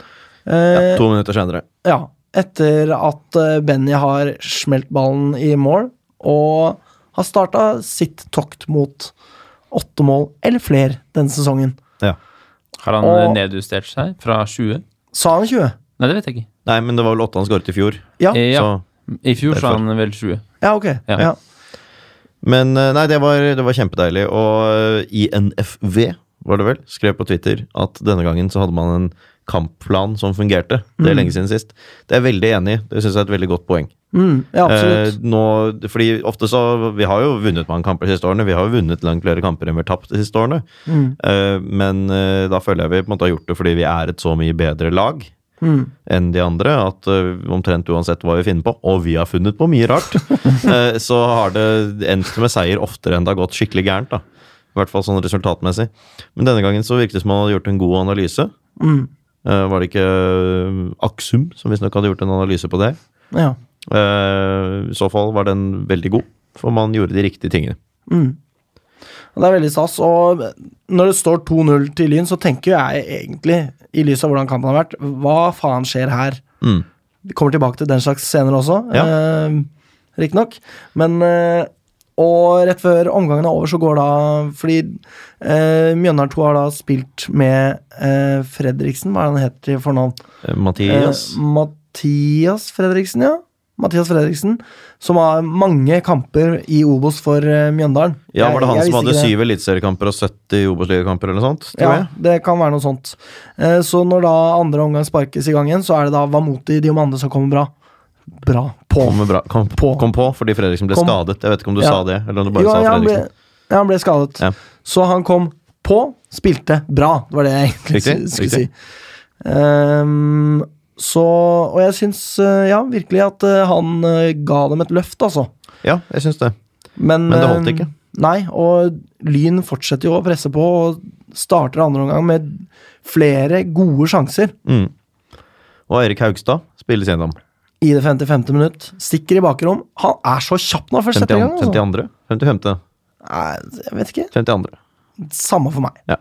Speaker 1: Eh,
Speaker 2: To minutter senere.
Speaker 1: ja, etter at eh, Benny har smelt ballen i mål og har starta sitt tokt mot åtte mål eller flere denne sesongen.
Speaker 2: Ja.
Speaker 3: Har han
Speaker 1: Og-
Speaker 3: eh, nedjustert seg fra 20?
Speaker 1: Sa han 20?
Speaker 3: Nei, det vet jeg ikke.
Speaker 2: Nei, men det var vel åtte han skåret i fjor.
Speaker 1: Ja,
Speaker 3: Eh, ja.
Speaker 2: Så,
Speaker 3: I fjor sa
Speaker 2: derfor.
Speaker 3: han vel 20.
Speaker 1: ja ok. Ja.
Speaker 3: Ja.
Speaker 2: men eh, nei, det var, det var kjempedeilig. Og eh, INFV, var det vel, skrev på Twitter at denne gangen så hadde man en kampplan som fungerte. Det er lenge siden sist. Det er jeg veldig enig i. Det syns jeg er et veldig godt poeng.
Speaker 1: Mm, ja, absolutt.
Speaker 2: Eh, nå, fordi ofte så Vi har jo vunnet mange kamper de siste årene. Vi har jo vunnet langt flere kamper enn vi har tapt de siste årene. Eh, men eh, da føler jeg vi på en måte har gjort det fordi vi er et så mye bedre lag enn de andre. At eh, omtrent uansett hva vi finner på, og vi har funnet på mye rart, eh, så har det endt med seier oftere enn det har gått skikkelig gærent. da I hvert fall sånn resultatmessig. Men denne gangen så virket det som man hadde gjort en god analyse. Eh, var det ikke eh, Aksum som visstnok hadde gjort en analyse på det?
Speaker 1: Ja.
Speaker 2: Eh, I så fall var den veldig god, for man gjorde de riktige tingene.
Speaker 1: Det er veldig stas. Og når det står 2-0 til Lyn, så tenker jeg egentlig, i lys av hvordan kampen har vært, hva faen skjer her? Vi kommer tilbake til den slags scener også.
Speaker 2: Ja.
Speaker 1: Eh, riktignok. Men eh, Og rett før omgangen er over, så går da Fordi eh, Mjøndalen 2 har da spilt med eh, Fredriksen, hva er det han heter til fornavn?
Speaker 2: Eh, Mathias.
Speaker 1: Eh, Mathias Fredriksen, ja. Mathias Fredriksen, som har mange kamper i Obos for eh, Mjøndalen.
Speaker 2: ja, var det han
Speaker 1: Jeg- jeg visste
Speaker 2: som hadde
Speaker 1: ikke det.
Speaker 2: syv eliteseriekamper og 70 Obos-ligakamper eller noe sånt? tror
Speaker 1: Ja,
Speaker 2: jeg?
Speaker 1: det kan være noe sånt. Eh, Så når da andre omgang sparkes i gang igjen, så er det da Vamoti Diomande som kommer bra. Bra. På.
Speaker 2: Kom, med bra, kom, på.
Speaker 1: På.
Speaker 2: kom på fordi Fredriksen ble
Speaker 1: Kom.
Speaker 2: skadet. Jeg vet ikke om du
Speaker 1: Ja.
Speaker 2: sa det, eller om du bare
Speaker 1: Jo,
Speaker 2: sa
Speaker 1: ja, han ble,
Speaker 2: Fredriksen.
Speaker 1: ja, han ble skadet.
Speaker 2: Ja.
Speaker 1: Så han kom på, spilte bra. Det var det jeg egentlig
Speaker 2: Riktig,
Speaker 1: skulle
Speaker 2: riktig.
Speaker 1: si. Ehm, så Og jeg syns eh, ja, virkelig at eh, han eh, ga dem et løft, altså.
Speaker 2: Ja, jeg syns det.
Speaker 1: Men,
Speaker 2: Men det holdt
Speaker 1: eh,
Speaker 2: ikke.
Speaker 1: Nei, og Lyn fortsetter jo å presse på og starter andre omgang med flere gode sjanser.
Speaker 2: Mm. Og Erik Haugstad spilles gjennom.
Speaker 1: i det 55. minutt. Stikker i bakrom. Han er så kjapp når han først setter i
Speaker 2: 52.
Speaker 1: gang. Altså.
Speaker 2: 52. 55.
Speaker 1: Nei, jeg vet ikke.
Speaker 2: 52.
Speaker 1: Samme for meg.
Speaker 2: Ja.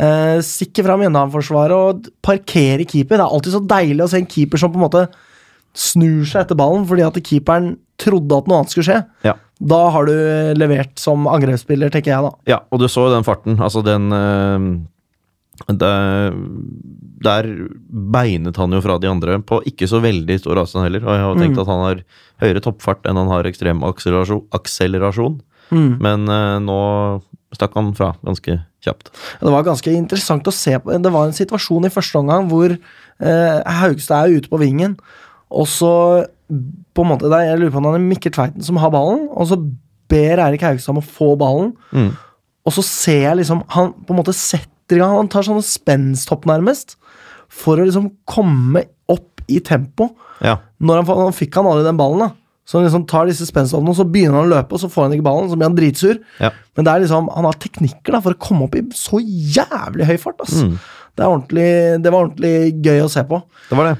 Speaker 1: Eh, stikker fra Mjøndalen-forsvaret og parkerer keeper. Det er alltid så deilig å se en keeper som på en måte snur seg etter ballen fordi at keeperen trodde at noe annet skulle skje.
Speaker 2: Ja.
Speaker 1: Da har du levert som angrepsspiller, tenker jeg da.
Speaker 2: Ja, og du så jo den farten. Altså, den eh, der, der beinet han jo fra de andre på ikke så veldig stor avstand heller. Og jeg har jo tenkt at han har høyere toppfart enn han har ekstrem akselerasjon. akselerasjon. Men eh, nå stakk han fra ganske kjapt.
Speaker 1: Det var ganske interessant å se på. Det var en situasjon i første omgang hvor eh, Haugstad er ute på vingen, og så på en måte, det er- Jeg lurer på om det er Mikkel Tveiten som har ballen, og så ber Eirik Haugstad om å få ballen.
Speaker 2: Mm.
Speaker 1: Og så ser jeg liksom Han på en måte setter i gang, han tar sånne spensthopp, nærmest, for å liksom komme opp i tempo.
Speaker 2: Ja.
Speaker 1: Når han, får- han fikk han aldri den ballen, da. Så han liksom tar disse spensthoppene, og så begynner han å løpe, og så får han ikke ballen, så blir han dritsur.
Speaker 2: ja.
Speaker 1: Men det er liksom, han har teknikker da, for å komme opp i så jævlig høy fart. Ass.
Speaker 2: Mm.
Speaker 1: Det, er ordentlig, det var ordentlig gøy å se på.
Speaker 2: Det var det.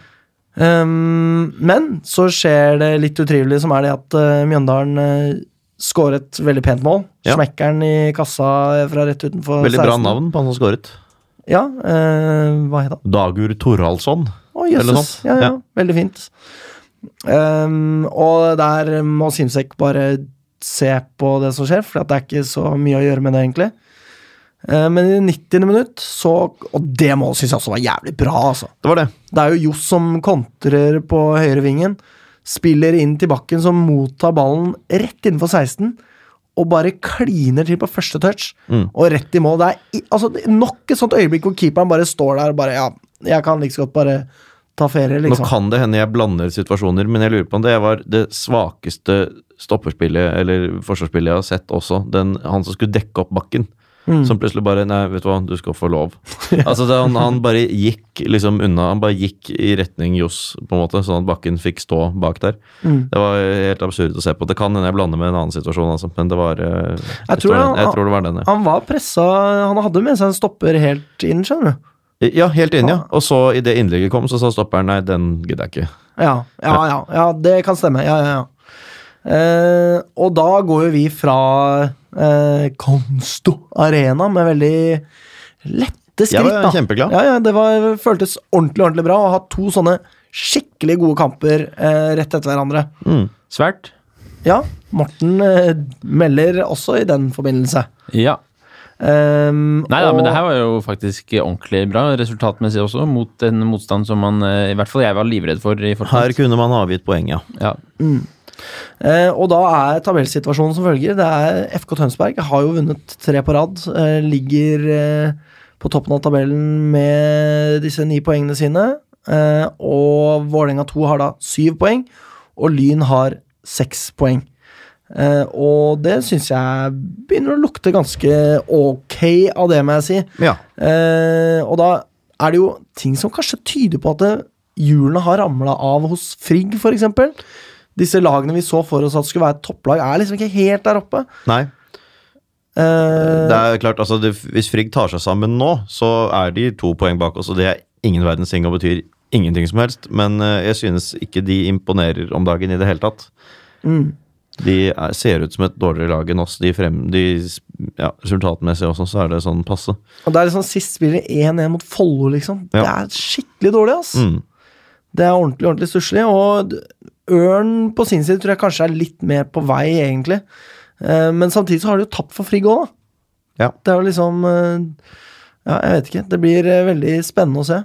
Speaker 1: Ehm, men så skjer det litt utrivelig, som er det at eh, Mjøndalen eh, skårer et veldig pent mål.
Speaker 2: Ja.
Speaker 1: Smekker den i kassa fra rett utenfor
Speaker 2: Veldig bra
Speaker 1: 16.
Speaker 2: navn på han som skåret.
Speaker 1: Ja, eh, hva het han?
Speaker 2: Dagur Toralsson.
Speaker 1: Å,
Speaker 2: Eller
Speaker 1: jøsses.
Speaker 2: sånt.
Speaker 1: Ja, ja,
Speaker 2: Ja.
Speaker 1: Veldig fint. Ehm, og der må Simsek bare se på det som skjer, for at det er ikke så mye å gjøre med det, egentlig. Eh, men i det 90. minutt, så Og det målet syns jeg også var jævlig bra, altså.
Speaker 2: Det var det.
Speaker 1: Det er jo Johs som kontrer på høyrevingen. Spiller inn til bakken, som mottar ballen rett innenfor 16. Og bare kliner til på første touch,
Speaker 2: Mm.
Speaker 1: og rett i mål. Det er i, altså, det er nok et sånt øyeblikk hvor keeperen bare står der og bare Ja, jeg kan like så godt bare ta ferie, liksom.
Speaker 2: Nå kan det hende jeg blander situasjoner, men jeg lurer på om det var det svakeste stopperspillet eller forsvarsspillet jeg har sett også. Den, han som skulle dekke opp bakken.
Speaker 1: Mm.
Speaker 2: Som plutselig bare Nei, vet du hva, du skal få lov. altså det, han, han bare gikk liksom unna. Han bare gikk i retning Johs, på en måte, sånn at bakken fikk stå bak der.
Speaker 1: Mm.
Speaker 2: Det var helt absurd å se på. Det kan hende jeg blander med en annen situasjon, altså, men det var eh,
Speaker 1: tror
Speaker 2: Jeg, tror,
Speaker 1: han-
Speaker 2: den, jeg tror det var den, ja.
Speaker 1: Han var pressa Han hadde med seg en stopper helt inn, skjønner du.
Speaker 2: Ja, helt enig, ja. Og så, idet innlegget kom, så sa stopperen nei, den gidder jeg ikke.
Speaker 1: Ja, ja, ja. ja det kan stemme. Ja, ja, ja. Eh, og da går jo vi fra eh, Konsto Arena med veldig lette skritt.
Speaker 2: Jeg var
Speaker 1: da.
Speaker 2: kjempeglad.
Speaker 1: Ja, ja, det var, føltes ordentlig ordentlig bra å ha to sånne skikkelig gode kamper eh, rett etter hverandre.
Speaker 3: Svært.
Speaker 1: Ja, Morten eh, melder også i den forbindelse.
Speaker 3: Ja.
Speaker 1: Um,
Speaker 3: Nei da,
Speaker 1: og-
Speaker 3: men det her var jo faktisk ordentlig bra resultatmessig også, mot en motstand som man eh, I hvert fall jeg var livredd for i
Speaker 2: Her
Speaker 3: forkant.
Speaker 2: kunne man avgitt poeng, ja.
Speaker 3: Ja.
Speaker 1: Eh, og da er tabellsituasjonen som følger. Det er FK Tønsberg har jo vunnet tre på rad. Eh, ligger eh, på toppen av tabellen med disse ni poengene sine. Eh, og Vålerenga 2 har da syv poeng, og Lyn har seks poeng. Eh, og det syns jeg begynner å lukte ganske ok av det, må jeg si.
Speaker 2: Ja.
Speaker 1: Eh, og da er det jo ting som kanskje tyder på at det, hjulene har ramla av hos Frigg, f.eks. Disse lagene vi så for oss at skulle være et topplag, er liksom ikke helt der oppe.
Speaker 2: Nei,
Speaker 1: Eh,
Speaker 2: Det er jo klart, altså det, Hvis Frigg tar seg sammen nå, så er de to poeng bak oss. Og det er ingen verdens ting og betyr ingenting som helst. Men eh, jeg synes ikke de imponerer om dagen i det hele tatt. De er, ser ut som et dårligere lag enn oss. De frem, de, s- ja, resultatmessig også, så er det sånn passe.
Speaker 1: og det er liksom sist spiller 1-1 mot Follo, liksom.
Speaker 2: Ja.
Speaker 1: Det er skikkelig dårlig, ass.
Speaker 2: Mm.
Speaker 1: Det er ordentlig ordentlig stusslig. Og d- Ørn på sin side tror jeg kanskje er litt mer på vei, egentlig. Eh, Men samtidig så har de jo tapt for Frigg òg, da.
Speaker 2: Ja.
Speaker 1: Det er jo liksom eh, Ja, jeg vet ikke. Det blir eh, veldig spennende å se.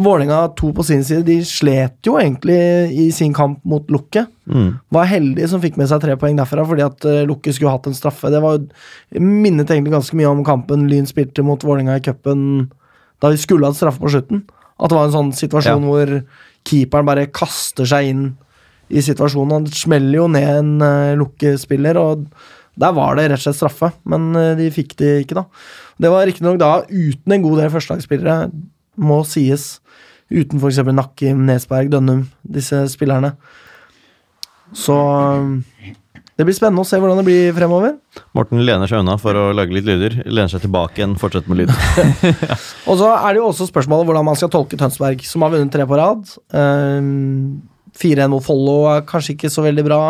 Speaker 1: Vålerenga 2 på sin side, de slet jo egentlig i sin kamp mot Lukke. Var heldige som fikk med seg tre poeng derfra, fordi at eh, Lukke skulle hatt en straffe. Det var jo- minnet egentlig ganske mye om kampen Lyn spilte mot Vålerenga i cupen da vi skulle hatt straffe på slutten. At det var en sånn situasjon
Speaker 2: Ja.
Speaker 1: hvor keeperen bare kaster seg inn i situasjonen. Han smeller jo ned en eh, lukkespiller, og der var det rett og slett straffe. Men eh, de fikk det ikke, da. Det var riktignok da uten en god del førstelagsspillere, må sies. Uten f.eks. Nakkim, Nesberg, Dønnum, disse spillerne. Så eh, det blir spennende å se hvordan det blir fremover.
Speaker 2: Morten lener seg unna for å lage litt lyder. Lener seg tilbake igjen, fortsetter med lyd.
Speaker 1: Og så er det jo også spørsmålet hvordan man skal tolke Tønsberg, som har vunnet tre på rad. Ehm, 4-1 mot Follo er kanskje ikke så veldig bra.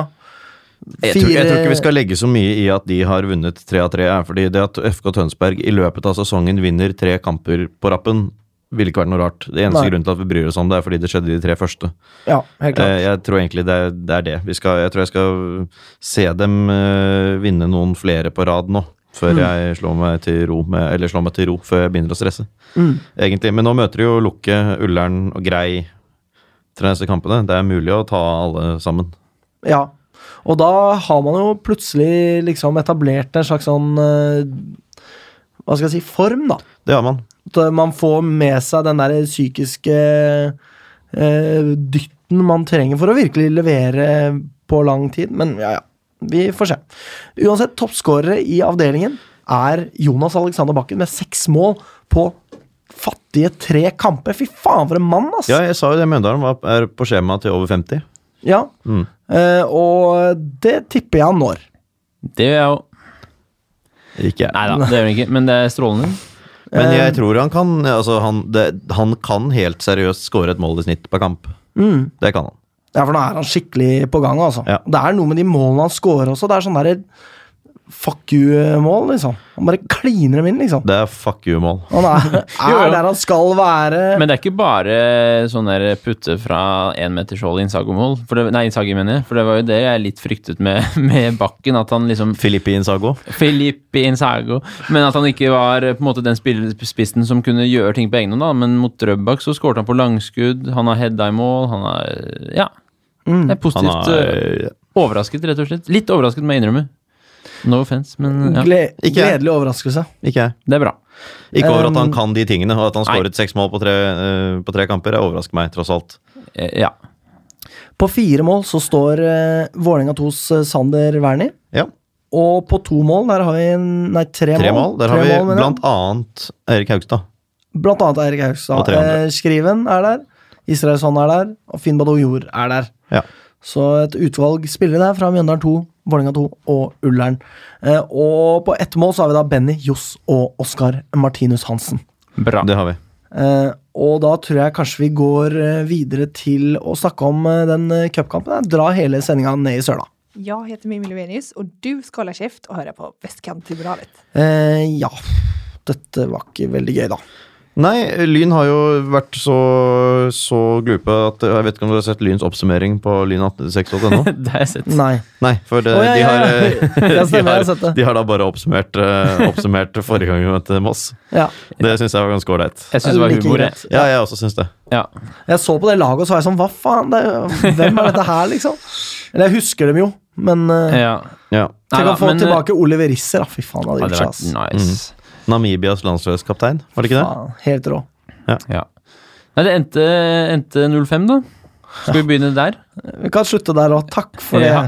Speaker 2: Jeg tror, jeg tror ikke
Speaker 1: Fire-
Speaker 2: vi skal legge så mye i at de har vunnet tre av tre. er, fordi det at FK Tønsberg i løpet av sesongen vinner tre kamper på rappen, ville ikke vært noe rart. Det eneste
Speaker 1: Nei.
Speaker 2: grunnen til at vi bryr oss om det, er fordi det skjedde i de tre første.
Speaker 1: Ja, helt klart.
Speaker 2: Eh, Jeg tror egentlig det er det. Er det. Vi skal, jeg tror jeg skal se dem eh, vinne noen flere på rad nå.
Speaker 1: Mm.
Speaker 2: Før jeg slår meg, til ro med, eller slår meg til ro før jeg begynner å stresse.
Speaker 1: Mm.
Speaker 2: Egentlig, Men nå møter de jo Lukke, Ullern og Grei til de neste kampene. Det er mulig å ta alle sammen.
Speaker 1: Ja. Og da har man jo plutselig liksom etablert en slags sånn eh, Hva skal jeg si form, da.
Speaker 2: Det har man.
Speaker 1: At eh, man får med seg den der psykiske eh, dytten man trenger for å virkelig levere på lang tid. Men ja, ja. Vi får se. Uansett, toppskårere i avdelingen er Jonas Alexander Bakken med seks mål på fattige tre kamper. Fy faen, for en mann, ass!
Speaker 2: Ja, jeg sa jo det. Mjøndalen var- er på skjema til over 50.
Speaker 1: Ja. Eh, og det tipper jeg han når.
Speaker 3: Det gjør jeg jo.
Speaker 2: Ikke jeg.
Speaker 3: Nei da, det gjør han ikke, men det er strålende.
Speaker 2: Men
Speaker 1: Eh.
Speaker 2: jeg tror han kan altså han, det, han kan helt seriøst skåre et mål i snitt per kamp.
Speaker 1: Mm.
Speaker 2: Det kan han.
Speaker 1: Ja, for nå er han skikkelig på gang, altså.
Speaker 2: Ja.
Speaker 1: Det er noe med de målene han scorer også. Det er sånn derre fuck you-mål, liksom. Han bare kliner dem inn, liksom.
Speaker 2: Det er fuck you-mål.
Speaker 1: Han er,
Speaker 3: Jo, jo.
Speaker 1: er der han skal være.
Speaker 3: Men det er ikke bare sånn der putte fra én meters hold i innsagomål. For det, nei, innsaget, mener jeg. For det var jo det jeg litt fryktet med, med Bakken. At han liksom
Speaker 2: Filippinsago.
Speaker 3: Filippe Insago. Men at han ikke var eh, på en måte den spill- spissen som kunne gjøre ting på egen hånd. da. Men mot Drøbak så skårte han på langskudd, han har heada i mål, han har eh, Ja. Det er
Speaker 2: Han
Speaker 3: positivt.
Speaker 2: er
Speaker 3: eh, Overrasket, rett og slett. Litt overrasket, må jeg innrømme. No offense, men ja,
Speaker 1: Gle
Speaker 2: Ikke jeg.
Speaker 1: gledelig overraskelse.
Speaker 2: Ikke jeg.
Speaker 3: det er bra.
Speaker 2: Ikke over at
Speaker 1: Um,
Speaker 2: han kan de tingene, og at han
Speaker 3: nei.
Speaker 2: skåret seks mål på tre, eh, på tre kamper. Jeg overrasker meg, tross alt.
Speaker 3: Eh, Ja.
Speaker 1: På fire mål så står uh, Vålerenga 2s Sander Wernie.
Speaker 2: Ja,
Speaker 1: Og på to mål, der har vi en, nei, tre,
Speaker 2: Tre mål. Der
Speaker 1: Tre
Speaker 2: har vi
Speaker 1: mål, mener jeg.
Speaker 2: blant annet Erik Haugstad.
Speaker 1: Blant annet Eirik
Speaker 2: Og
Speaker 1: Haugstad.
Speaker 2: tre andre.
Speaker 1: Eh, Skriven er der. Israelsson er der. Og Finn Badoujor er der.
Speaker 2: Ja.
Speaker 1: Så et utvalg spillere der fra Mjøndalen 2, Vålerenga 2 og Ullern. Eh, og på ett mål så har vi da Benny Johs og Oskar Martinus Hansen.
Speaker 3: Bra.
Speaker 2: Det har vi.
Speaker 1: Eh, og da tror jeg kanskje vi går eh, videre til å snakke om eh, den eh, cupkampen. der. Dra hele sendinga ned i søla.
Speaker 6: Jeg heter Mimmi Lovenius, og du skal holde kjeft og høre på Vestkanttribunalet.
Speaker 1: Eh, ja. Dette var ikke veldig gøy, da.
Speaker 2: Nei, Lyn har jo vært så, så glupe at Jeg vet ikke om du har sett Lyns oppsummering på lyn1868.no?
Speaker 3: Det har jeg sett.
Speaker 1: Nei.
Speaker 2: Nei, for det,
Speaker 1: Å, ja,
Speaker 2: de,
Speaker 1: ja,
Speaker 2: har,
Speaker 1: ja.
Speaker 2: eh,
Speaker 1: Ja, stemmer,
Speaker 2: de,
Speaker 1: jeg har sett
Speaker 2: har,
Speaker 1: det.
Speaker 2: de har da bare oppsummert, eh, oppsummert forrige gang vi møtte Moss.
Speaker 1: Ja.
Speaker 2: Det syns jeg var ganske ålreit.
Speaker 3: Jeg syns det var
Speaker 1: Like
Speaker 3: humor,
Speaker 1: greit.
Speaker 3: jeg.
Speaker 2: Ja, jeg også syns det.
Speaker 3: Ja.
Speaker 1: Jeg så på det laget og så var jeg sånn Hva faen? Det, er- hvem er dette her, liksom? Eller jeg husker dem jo, men eh,
Speaker 3: ja.
Speaker 2: Ja.
Speaker 1: Tenk
Speaker 3: Neida,
Speaker 1: å få
Speaker 3: men, eh,
Speaker 1: tilbake Oliver Risser, da. Fy faen, det hadde
Speaker 3: Hadde
Speaker 1: gjort seg,
Speaker 3: vært
Speaker 1: ass.
Speaker 3: nice.
Speaker 2: Namibias landslagskaptein, var det ikke det?
Speaker 1: Faen, helt rå.
Speaker 3: Ja. Nei, det endte, endte 05, da. Skal vi begynne der?
Speaker 1: Vi kan slutte der òg. Takk for det.
Speaker 3: Ja.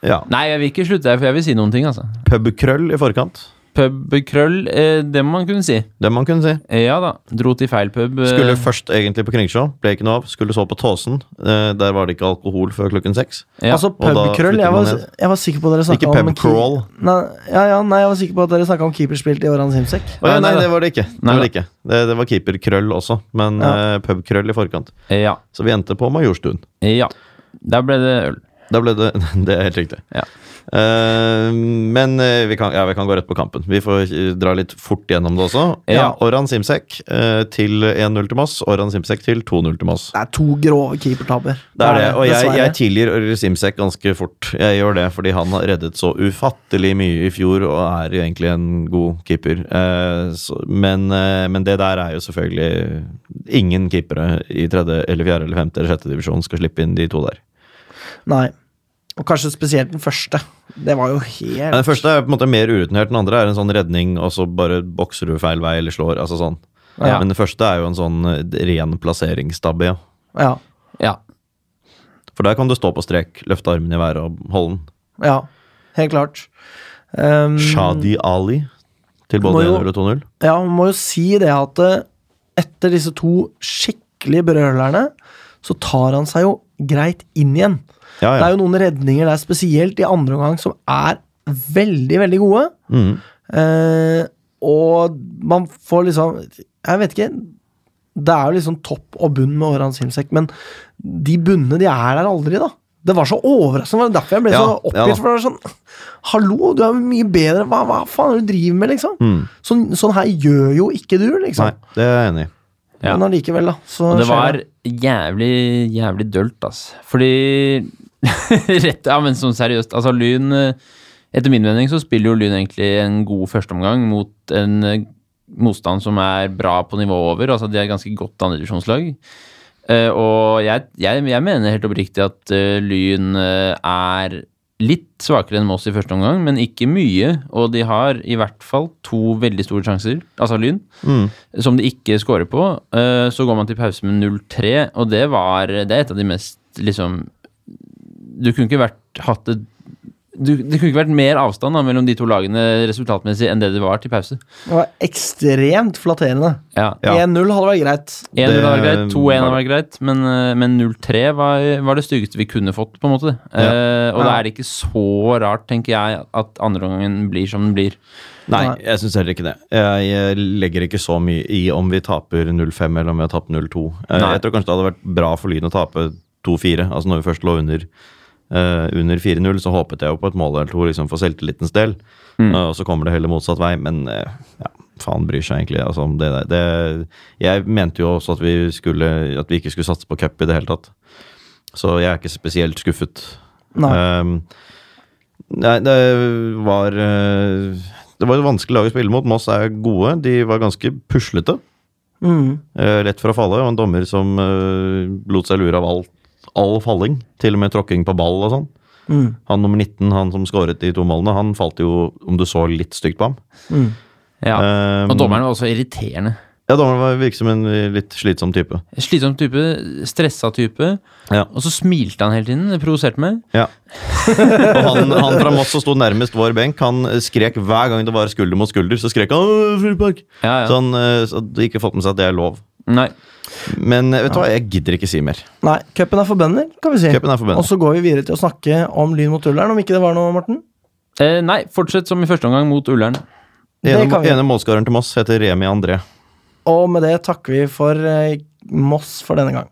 Speaker 2: Ja.
Speaker 3: Nei, jeg vil ikke slutte der, for jeg vil si noen ting, altså.
Speaker 2: Pubkrøll i forkant.
Speaker 3: Pubkrøll, eh, det må man kunne si.
Speaker 2: Det man kunne si.
Speaker 3: Eh, Ja da, dro til feil pub. eh,
Speaker 2: Skulle først egentlig på Kringsjå, ble ikke noe av. Skulle så på Tåsen. Eh, der var det ikke alkohol før klokken seks.
Speaker 3: ja.
Speaker 1: Altså
Speaker 2: og da
Speaker 1: pubkrøll
Speaker 2: flytter
Speaker 1: jeg,
Speaker 2: man
Speaker 1: var-
Speaker 2: ned.
Speaker 1: jeg var sikker på at dere snakket
Speaker 2: Ikke
Speaker 1: om
Speaker 2: pub
Speaker 1: keep-
Speaker 2: crawl.
Speaker 1: Nei, ja, ja, nei, jeg var sikker på at dere snakka om keeperspill til Oran Simsek.
Speaker 2: Å ja,
Speaker 3: Nei,
Speaker 2: nei,
Speaker 3: nei,
Speaker 2: det var det ikke. Det,
Speaker 3: Nei,
Speaker 2: var det,
Speaker 3: da.
Speaker 2: ikke. det, det var keeperkrøll også, men
Speaker 1: Ja.
Speaker 2: eh, pubkrøll i forkant.
Speaker 3: ja.
Speaker 2: Så vi endte på Majorstuen.
Speaker 3: ja. Der ble det øl.
Speaker 2: Da ble det Det er helt riktig.
Speaker 3: Ja.
Speaker 2: Eh, men eh, vi kan, ja, vi kan gå rett på kampen. Vi får eh, dra litt fort gjennom det også.
Speaker 3: Ja.
Speaker 2: Oran Simsek eh, til 1-0 til Moss. Oran Simsek til 2-0 til Moss.
Speaker 1: Det er to grove keepertabber.
Speaker 2: Det er det, og jeg,
Speaker 1: Dessverre.
Speaker 2: jeg tilgir Oril Simsek ganske fort. Jeg gjør det fordi han har reddet så ufattelig mye i fjor og er jo egentlig en god keeper. Eh, så, men, eh, men det der er jo selvfølgelig Ingen keepere i tredje eller fjerde eller femte eller sjette divisjon skal slippe inn de to der.
Speaker 1: Nei. Og kanskje spesielt den første. Det var jo helt
Speaker 2: Men Den første er på en måte mer urutinert, den andre er en sånn redning, og så bare bokser du feil vei eller slår. altså sånn.
Speaker 3: Ja.
Speaker 2: Men den første er jo en sånn eh, ren plasseringstabbe, ja.
Speaker 1: Ja.
Speaker 3: Ja.
Speaker 2: For der kan du stå på strek, løfte armen i været og holde den.
Speaker 1: ja. Helt klart. Um,
Speaker 2: Shadi Ali til
Speaker 1: Må
Speaker 2: både
Speaker 1: jo-
Speaker 2: 1-0 og 2-0.
Speaker 1: Ja, man må jo si det at eh, etter disse to skikkelige brølerne, så tar han seg jo greit inn igjen.
Speaker 2: Ja,
Speaker 1: Det
Speaker 2: ja.
Speaker 1: er jo noen redninger der, spesielt i andre omgang, som er veldig, veldig gode.
Speaker 2: Mm.
Speaker 1: Eh, og man får liksom Jeg vet ikke. Det er jo liksom topp og bunn med Åran Simsek, men de bunnene de er der aldri, da. Det var så overraskende. Det var derfor jeg ble
Speaker 2: Ja,
Speaker 1: så
Speaker 2: ja da.
Speaker 1: oppgitt. for det var sånn Hallo, du er jo mye bedre. Hva, hva faen er det du driver med, liksom? Sånn, sånn her gjør jo ikke du,
Speaker 2: Mm. Nei,
Speaker 1: liksom.
Speaker 2: det er jeg enig i.
Speaker 3: Ja.
Speaker 1: Men allikevel, da. Så
Speaker 3: Og det
Speaker 1: skjer
Speaker 3: var jævlig, jævlig dølt, ass. Fordi Rett, ja, men sånn seriøst. Altså, Lyn eh, Etter min mening så spiller jo Lyn egentlig en god førsteomgang mot en eh, motstand som er bra på nivå over. Altså, de er et ganske godt andredivisjonslag. Eh, og jeg, jeg, jeg mener helt oppriktig at eh, Lyn eh, er litt svakere enn Moss i første omgang, men ikke mye. Og de har i hvert fall to veldig store sjanser, altså Lyn, som de ikke scorer på. Eh, så går man til pause med 0-3, og det var Det er et av de mest liksom Du kunne ikke vært hatt et du, det kunne ikke vært mer avstand da, mellom de to lagene resultatmessig enn det det var til pause.
Speaker 1: Det var ekstremt flatterende.
Speaker 3: Ja.
Speaker 2: Ja.
Speaker 1: 1-0 hadde vært greit.
Speaker 3: 1 hadde vært
Speaker 2: Det
Speaker 3: greit, 2-1 hadde
Speaker 2: var-
Speaker 3: vært greit, men, eh, men 0-3 var, var det styggeste vi kunne fått, på en måte. Eh, og da er det ikke så rart, tenker jeg, at andreomgangen blir som den blir.
Speaker 2: Nei,
Speaker 1: Nei.
Speaker 2: jeg syns heller ikke det. Jeg jeg legger ikke så mye i om vi taper 0-5 eller om vi har tapt 0-2. Eh,
Speaker 3: Nei.
Speaker 2: Jeg tror kanskje det hadde vært bra for Lyn å tape 2-4. Altså når vi først lå under, eh, under 4-0, så håpet jeg jo på et mål eller to liksom for selvtillitens del. Eh, og så kommer det heller motsatt vei, men eh, ja, faen bryr seg egentlig altså, om det der. Det, jeg mente jo også at vi, skulle, at vi ikke skulle satse på cup i det hele tatt. Så jeg er ikke spesielt skuffet.
Speaker 1: Nei.
Speaker 2: Ehm, nei, det var eh, Det var et vanskelig lag å spille mot. Moss er gode. De var ganske puslete. Eh, lett for å falle, og en dommer som eh, lot seg lure av alt, all falling. Til og med tråkking på ball og sånn. Han nummer 19, han som skåret de to målene, han falt jo, om du så litt stygt på ham.
Speaker 3: Ja.
Speaker 2: Ehm,
Speaker 3: og dommeren var også irriterende.
Speaker 2: Ja, dommeren var- virket som en eh, litt slitsom type.
Speaker 3: Slitsom type, stressa type.
Speaker 2: Ja.
Speaker 3: Og så smilte han hele tiden, det provoserte meg.
Speaker 2: Ja. Og han, han fra Moss som sto nærmest vår benk, han skrek hver gang det var skulder mot skulder, så skrek han «Åh, frispark!
Speaker 3: Ja, ja.
Speaker 2: Så han eh, så hadde ikke fått med seg at det er lov.
Speaker 3: Nei.
Speaker 2: Men eh, vet du hva, jeg gidder ikke si mer.
Speaker 1: Nei, cupen er for bønder, kan vi si.
Speaker 2: Cupen er for bønder.
Speaker 1: Og så går vi videre til å snakke om Lyn mot Ullern, om ikke det var noe, Morten.
Speaker 3: Eh, nei, fortsett som i første omgang mot Ullern.
Speaker 1: Det
Speaker 2: Den ene,
Speaker 1: kan vi.
Speaker 2: ene målskåreren til Moss heter Remi André.
Speaker 1: Og med det takker vi for eh, Moss for denne gang.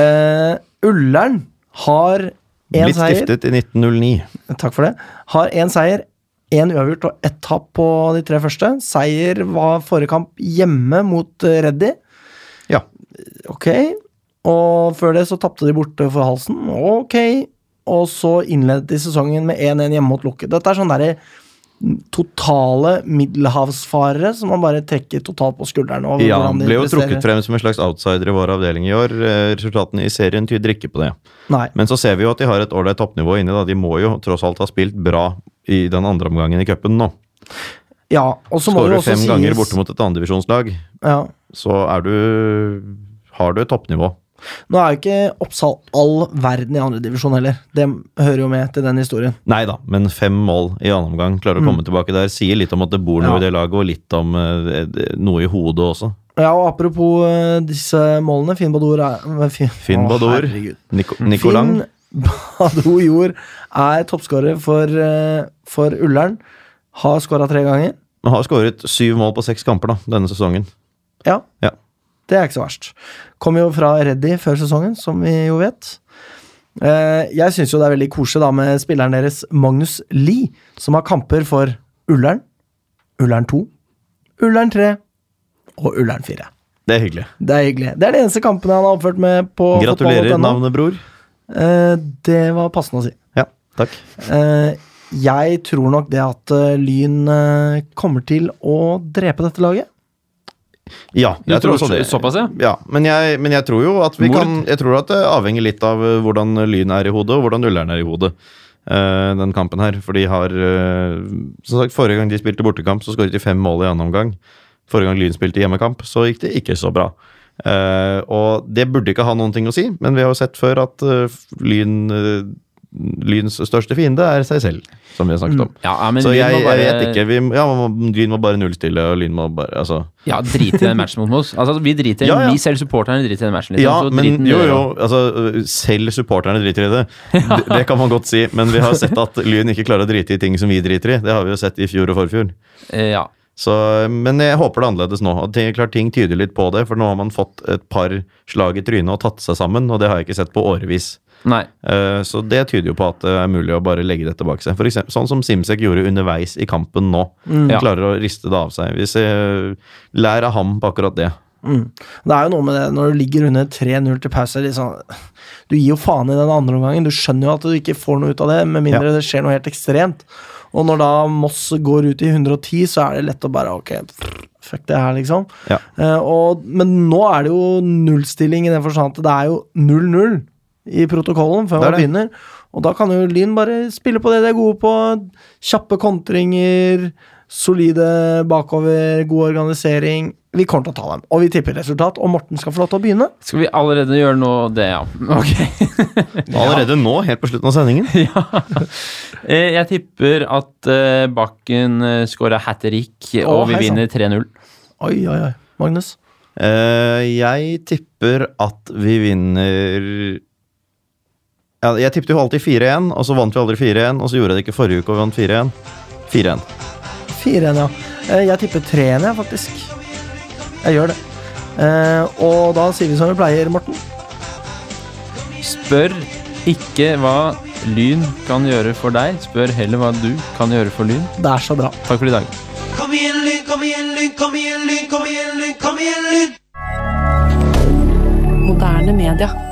Speaker 1: Eh, Ullern har én
Speaker 2: Blitt
Speaker 1: seier.
Speaker 2: stiftet i 1909.
Speaker 1: Takk for det. Har én seier, én uavgjort og ett tap på de tre første. Seier var forrige kamp hjemme mot eh, Reddy.
Speaker 2: Ja.
Speaker 1: Ok. Og før det så tapte de borte for halsen. Ok. Og så innledet de sesongen med 1-1 hjemme mot Lukke. Dette er sånn derre totale middelhavsfarere som man bare trekker totalt på skuldrene. over
Speaker 2: ja,
Speaker 1: hvordan
Speaker 2: han
Speaker 1: de
Speaker 2: ble jo trukket
Speaker 1: presterer.
Speaker 2: frem som en slags outsider i vår avdeling i år. Eh, Resultatene i serien tyder ikke på det.
Speaker 1: Nei.
Speaker 2: Men så ser vi jo at de har et ålreit toppnivå inne. Da. De må jo tross alt ha spilt bra i den andre omgangen i cupen nå.
Speaker 1: Ja, og så må det
Speaker 2: Skårer
Speaker 1: jo også
Speaker 2: fem
Speaker 1: sies
Speaker 2: ganger borte mot et andredivisjonslag.
Speaker 1: ja.
Speaker 2: så er du har du et toppnivå.
Speaker 1: Nå er jo ikke Oppsal all verden i andredivisjon heller. Det hører jo med til den historien.
Speaker 2: Nei da, men fem mål i annen omgang, klarer å komme tilbake der, sier litt om at det bor noe
Speaker 1: Mm. Ja.
Speaker 2: i det laget, og litt om eh, det- noe i hodet også.
Speaker 1: Ja, og apropos eh, disse målene Finn Badour er eh, Finn,
Speaker 2: Finn
Speaker 1: Å,
Speaker 2: Badour,
Speaker 1: herregud.
Speaker 2: Nico, Nicolang,
Speaker 1: Finn Badou Jord er toppskårer for, eh, for Ullern. Har skåra tre ganger.
Speaker 2: Men har skåret syv mål på seks kamper da, denne sesongen.
Speaker 1: Ja,
Speaker 2: Ja.
Speaker 1: det er ikke så verst. Kom jo fra Reddy før sesongen, som vi jo vet. Eh, Jeg syns jo det er veldig koselig da med spilleren deres Magnus Lie, som har kamper for Ullern, Ullern 2, Ullern 3 og Ullern 4.
Speaker 2: Det er hyggelig.
Speaker 1: Det er hyggelig. Det er de eneste kampene han har oppført med på
Speaker 2: Gratulerer,
Speaker 1: fotball.no.
Speaker 2: navnet, bror.
Speaker 1: Eh, Det var passende å si.
Speaker 2: Ja, takk.
Speaker 1: Eh, Jeg tror nok det at eh, Lyn eh, kommer til å drepe dette laget.
Speaker 2: Ja,
Speaker 3: Du
Speaker 2: jeg tror også
Speaker 3: så-
Speaker 2: det.
Speaker 3: Såpass, ja.
Speaker 2: Ja, men jeg, men jeg tror jo at vi
Speaker 3: Mord.
Speaker 2: kan Jeg tror at det avhenger litt av eh, hvordan Lyn er i hodet, og hvordan Ullern er i hodet. eh, den kampen her. For de har eh, Som sagt, forrige gang de spilte bortekamp, så skåret de fem mål i annen omgang. Forrige gang Lyn spilte hjemmekamp, så gikk det ikke så bra. Eh, og det burde ikke ha noen ting å si, men vi har jo sett før at eh, Lyn eh, Lyns største fiende er seg selv, som vi har snakket om.
Speaker 3: Mm. Ja, ja, men
Speaker 2: så
Speaker 3: Lyn
Speaker 2: jeg,
Speaker 3: må bare-
Speaker 2: jeg vet ikke. Vi, ja, man må- Lyn må bare nullstille, og Lyn må bare Altså.
Speaker 3: Ja, drit i den matchen mot oss. Altså, vi driter
Speaker 2: Ja, ja.
Speaker 3: Vi selv supporterne driter i den matchen. Liksom.
Speaker 2: Ja,
Speaker 3: Så driten
Speaker 2: men
Speaker 3: i
Speaker 2: jo,
Speaker 3: det,
Speaker 2: jo,
Speaker 3: da.
Speaker 2: altså, øh, selv supporterne driter i det. Det, det kan man godt si, men vi har sett at Lyn ikke klarer å drite i ting som vi driter i. Det har vi jo sett i fjor og forfjor.
Speaker 3: Eh, ja.
Speaker 2: Så, men jeg håper det er annerledes nå. Og det er klart Ting tyder litt på det, for nå har man fått et par slag i trynet og tatt seg sammen, og det har jeg ikke sett på årevis.
Speaker 3: Nei.
Speaker 2: Eh, Så det tyder jo på at det er mulig å bare legge dette bak seg. For eksempel, sånn som Simsek gjorde underveis i kampen nå. Han
Speaker 3: Mm. Ja.
Speaker 2: klarer å riste det av seg. Vi ser, lær av ham på akkurat det.
Speaker 1: Det er jo noe med det når du ligger under 3-0 til pause. er det Liksom, du gir jo faen i den andre omgangen. Du skjønner jo at du ikke får noe ut av det, med mindre
Speaker 2: Ja.
Speaker 1: det skjer noe helt ekstremt. Og når da Moss går ut i 110, så er det lett å bare ok, fuck det her, liksom.
Speaker 2: Ja.
Speaker 1: Eh, og, men nå er det jo nullstilling i den forstand at det er jo 0-0 i protokollen før
Speaker 2: Det er
Speaker 1: man
Speaker 2: det.
Speaker 1: begynner. Og da kan jo Lyn bare spille på det de er gode på. Kjappe kontringer, solide bakover, god organisering. Vi kommer til å ta dem, og vi tipper resultat. Og Morten skal få lov til å begynne.
Speaker 3: Skal vi allerede gjøre nå det, ja? Ok.
Speaker 2: Allerede nå, helt på slutten av sendingen.
Speaker 3: Eh, jeg tipper at eh, Bakken eh, scorer hat trick, og vi
Speaker 1: hei sann.
Speaker 3: vinner 3-0.
Speaker 1: Oi, oi, oi. Magnus.
Speaker 2: Eh, jeg tipper at vi vinner ja, Jeg tippet jo alltid 4-1, og så vant vi aldri 4-1. Og så gjorde jeg det ikke forrige uke, og vi vant 4-1. 4-1.
Speaker 1: 4-1, ja. Eh, Jeg tipper 3-1, jeg, faktisk. Jeg gjør det. Eh, og da sier vi som vi pleier, Morten.
Speaker 3: Spør ikke hva Lyn kan gjøre for deg, spør heller hva du kan gjøre for Lyn.
Speaker 1: Det er så bra.
Speaker 3: Takk for i dag.
Speaker 5: Kom igjen, Lyn, kom igjen, Lyn, kom igjen, Lyn, kom igjen, Lyn, kom igjen, Lyn!
Speaker 7: Moderne media.